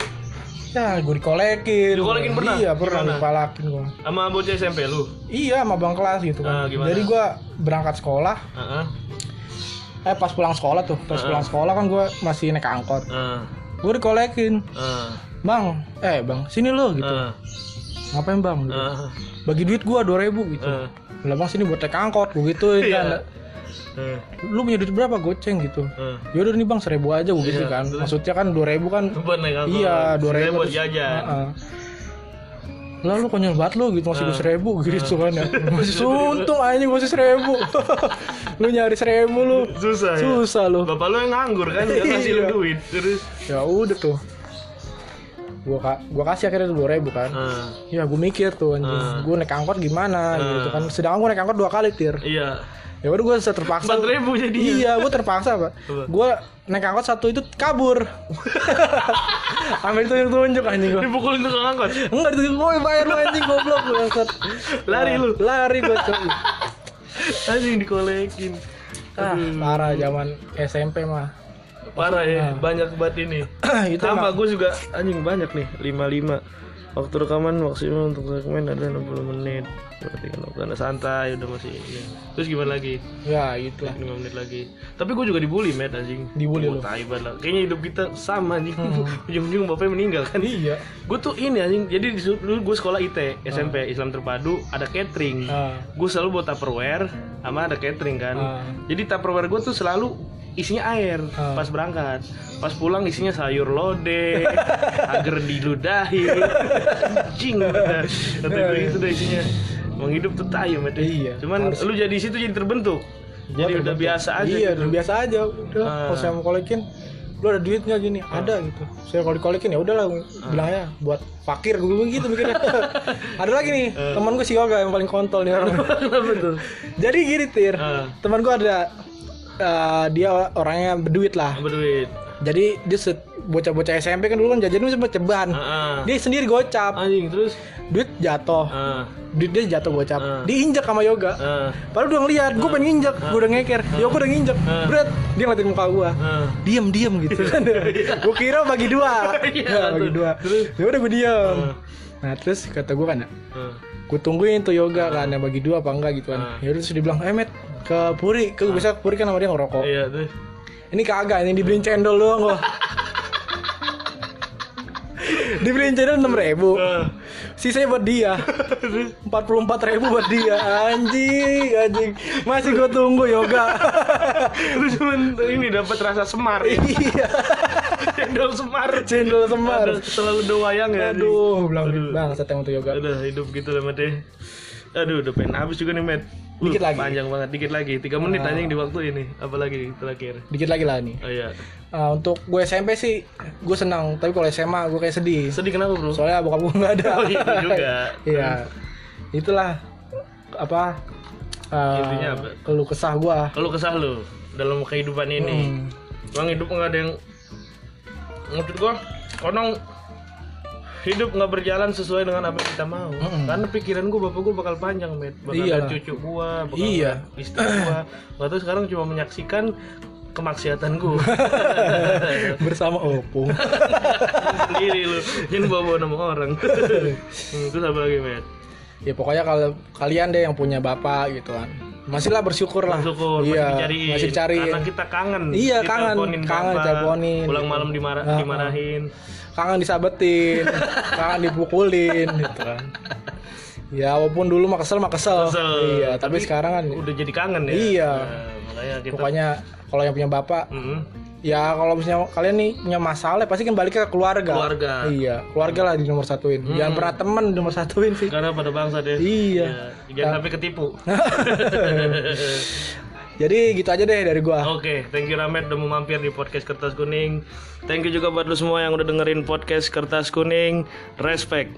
Speaker 2: ya gue dikolekin
Speaker 1: Dikolekin pernah?
Speaker 2: iya pernah
Speaker 1: Gimana?
Speaker 2: dipalakin gue
Speaker 1: Sama bocah SMP lu?
Speaker 2: iya sama bang kelas gitu
Speaker 1: Ah,
Speaker 2: kan
Speaker 1: gimana?
Speaker 2: jadi gue berangkat sekolah
Speaker 1: Heeh.
Speaker 2: eh pas pulang sekolah tuh pas
Speaker 1: Ah.
Speaker 2: pulang sekolah kan gue masih naik angkot
Speaker 1: Heeh.
Speaker 2: gue dikolekin
Speaker 1: Heeh.
Speaker 2: bang eh bang sini lo gitu
Speaker 1: Heeh.
Speaker 2: ngapain bang Gitu.
Speaker 1: Ah,
Speaker 2: bagi duit gua 2000 gitu
Speaker 1: ah,
Speaker 2: lah mas ini buat naik angkot gua gitu
Speaker 1: Iya.
Speaker 2: kan
Speaker 1: ah,
Speaker 2: lu punya duit berapa goceng gitu
Speaker 1: ah.
Speaker 2: yaudah nih bang seribu aja gua gitu
Speaker 1: Iya,
Speaker 2: kan
Speaker 1: betul.
Speaker 2: maksudnya kan 2000 kan
Speaker 1: Buat naik angkot.
Speaker 2: iya dua
Speaker 1: Sebenarnya
Speaker 2: ribu
Speaker 1: buat jajan.
Speaker 2: lalu konyol banget Ah. lu gitu masih
Speaker 1: Ah.
Speaker 2: seribu gitu kan ya masih suntung aja masih seribu lu nyari seribu lu
Speaker 1: Susah. ya?
Speaker 2: susah lu
Speaker 1: Bapak lu yang nganggur kan, gak kasih lu
Speaker 2: Iya.
Speaker 1: duit. Terus
Speaker 2: ya udah tuh gua ka- gua kasih akhirnya dua ribu kan
Speaker 1: ah,
Speaker 2: ya gua mikir tuh anjing
Speaker 1: Ah.
Speaker 2: gua naik angkot gimana gitu kan sedangkan gua naik angkot dua kali tir
Speaker 1: iya.
Speaker 2: ya udah gua terpaksa
Speaker 1: Empat ribu jadi.
Speaker 2: Iya, gue terpaksa pak.
Speaker 1: Apa?
Speaker 2: Gue naik angkot satu itu kabur. Ambil tunjuk-tunjuk anjing gue.
Speaker 1: Dipukulin tukang angkot.
Speaker 2: Enggak ditunjuk, gue bayar lu anjing goblok lu bangsat. Nah,
Speaker 1: Lari lu.
Speaker 2: Lari gue cuy.
Speaker 1: Anjing dikolekin.
Speaker 2: Ah,
Speaker 1: Aduh,
Speaker 2: parah zaman SMP mah.
Speaker 1: parah ya, banyak banget ini.
Speaker 2: itu
Speaker 1: Sama
Speaker 2: mah.
Speaker 1: gue juga anjing banyak nih 55 Waktu rekaman maksimal untuk segmen ada 60 menit Berarti kan karena santai udah masih ini. Terus gimana lagi?
Speaker 2: Ya gitu lah.
Speaker 1: 5 menit lagi Tapi gue juga dibully met anjing Gua
Speaker 2: Dibully lu? Hmm.
Speaker 1: tai banget lah Kayaknya hidup kita sama anjing Ujung-ujung bapaknya meninggal kan
Speaker 2: Iya.
Speaker 1: Gue tuh ini anjing Jadi di- dulu gue sekolah IT SMP Islam terpadu Ada catering
Speaker 2: Hmm. Ah,
Speaker 1: Gue selalu bawa tupperware Sama ada catering kan
Speaker 2: Ah.
Speaker 1: Jadi tupperware gue tuh selalu isinya air
Speaker 2: Ah.
Speaker 1: pas berangkat pas pulang isinya sayur lodeh agar diludahi anjing bener. kata gue itu deh isinya Emang hidup tuh tayo met
Speaker 2: Iya,
Speaker 1: cuman
Speaker 2: harus.
Speaker 1: lu jadi situ jadi terbentuk
Speaker 2: gua
Speaker 1: jadi udah
Speaker 2: terbentuk.
Speaker 1: biasa aja
Speaker 2: Iya,
Speaker 1: gitu.
Speaker 2: udah biasa aja. Udah,
Speaker 1: Ah.
Speaker 2: kalau saya mau kolekin, lu ada duitnya gini, ada gitu. Saya kalau dikolekin ya udahlah
Speaker 1: Ah.
Speaker 2: bilang ya buat fakir gue gitu mikirnya. ada lagi nih,
Speaker 1: Ah.
Speaker 2: teman gue si Yoga yang paling kontol nih orang.
Speaker 1: betul
Speaker 2: Jadi gini Tir,
Speaker 1: Ah.
Speaker 2: teman gua ada eh, dia orangnya berduit lah.
Speaker 1: berduit
Speaker 2: Jadi dia set- bocah-bocah SMP kan dulu kan jajan sempat ceban.
Speaker 1: Ah, ah.
Speaker 2: Dia sendiri gocap,
Speaker 1: anjing terus
Speaker 2: duit jatuh,
Speaker 1: ah
Speaker 2: duit dia jatuh gocap.
Speaker 1: Ah.
Speaker 2: Diinjak sama Yoga.
Speaker 1: ah
Speaker 2: Padahal udah ngeliat, gue pengen injak, gue udah ngeker, ya gue udah nginjak,
Speaker 1: Ah.
Speaker 2: berat, dia ngeliatin muka gua
Speaker 1: ah
Speaker 2: diem diem gitu kan gue kira bagi dua
Speaker 1: Iya,
Speaker 2: ya, bagi
Speaker 1: tuh.
Speaker 2: dua
Speaker 1: Terus?
Speaker 2: ya udah gue diem
Speaker 1: Ah.
Speaker 2: nah terus kata gue kan
Speaker 1: ah.
Speaker 2: gue tungguin tuh yoga kan yang bagi dua apa enggak gitu kan
Speaker 1: Ah.
Speaker 2: ya udah terus dibilang eh Matt, ke puri ke bisa ke puri kan sama dia ngerokok
Speaker 1: iya tuh
Speaker 2: ini kagak ini dibeliin cendol doang gua dibeliin cendol enam ribu
Speaker 1: Ah.
Speaker 2: sisanya buat dia empat puluh empat ribu buat dia anjing anjing masih gue tunggu yoga
Speaker 1: lu cuman ini dapat rasa semar ya
Speaker 2: iya
Speaker 1: cendol semar
Speaker 2: cendol semar
Speaker 1: Ada selalu ada wayang ya anjing.
Speaker 2: Aduh, bilang
Speaker 1: Aduh.
Speaker 2: bang, saya tengok tuh yoga.
Speaker 1: Udah hidup gitu lah Matt ya. Aduh udah pengen habis juga nih Matt Uh,
Speaker 2: Dikit lagi. Ah.
Speaker 1: Panjang banget, dikit lagi 3 menit anjing di waktu ini Apalagi terakhir
Speaker 2: Dikit lagi lah nih.
Speaker 1: Oh iya
Speaker 2: Ah, untuk gue SMP sih, gue senang. Tapi kalau SMA gue kayak sedih.
Speaker 1: Sedih kenapa bro?
Speaker 2: Soalnya bokap gue nggak ada.
Speaker 1: Oh iya juga
Speaker 2: Iya, itulah apa ah,
Speaker 1: Intinya apa?
Speaker 2: keluh kesah gue.
Speaker 1: Kalau kesah lu dalam kehidupan ini
Speaker 2: Hmm.
Speaker 1: Bang hidup nggak ada yang Maksud gua Konong hidup nggak berjalan sesuai dengan apa yang kita mau karena pikiran gua bapak gua bakal panjang met bakal
Speaker 2: Iya.
Speaker 1: ada cucu gua bakal
Speaker 2: Iya.
Speaker 1: ada istri gua nggak tahu sekarang cuma menyaksikan kemaksiatan gua
Speaker 2: Bersama opung.
Speaker 1: sendiri lu jangan bawa bawa nama orang Hmm, terus apa lagi met
Speaker 2: ya pokoknya kalau kalian deh yang punya bapak gitu kan, masihlah bersyukur lah.
Speaker 1: syukur
Speaker 2: iya,
Speaker 1: masih dicariin
Speaker 2: masih dicariin.
Speaker 1: karena kita kangen
Speaker 2: Iya, kangen.
Speaker 1: Diteleponin
Speaker 2: Kangen,
Speaker 1: bapak,
Speaker 2: diteleponin.
Speaker 1: pulang malam dimara-
Speaker 2: Ah, ah.
Speaker 1: dimarahin
Speaker 2: kangen disabetin, kangen dipukulin gitu kan. Ya walaupun dulu mah kesel mah kesel.
Speaker 1: Kesel.
Speaker 2: Iya, tapi,
Speaker 1: Tapi
Speaker 2: sekarang kan
Speaker 1: udah jadi kangen ya
Speaker 2: Iya.
Speaker 1: Nah, makanya kita
Speaker 2: pokoknya kalau yang punya bapak
Speaker 1: Mm-mm.
Speaker 2: ya kalau misalnya kalian nih punya masalah pasti kembali ke keluarga.
Speaker 1: Keluarga.
Speaker 2: Iya, keluarga lah di nomor satuin. Jangan pernah temen di nomor satuin sih.
Speaker 1: karena pada bangsa deh
Speaker 2: Iya.
Speaker 1: Ya, jangan sampai ketipu
Speaker 2: Jadi gitu aja deh dari gua.
Speaker 1: Oke, thank you Ramet udah mau mampir di podcast Kertas Kuning. Thank you juga buat lu semua yang udah dengerin podcast Kertas Kuning. Respect.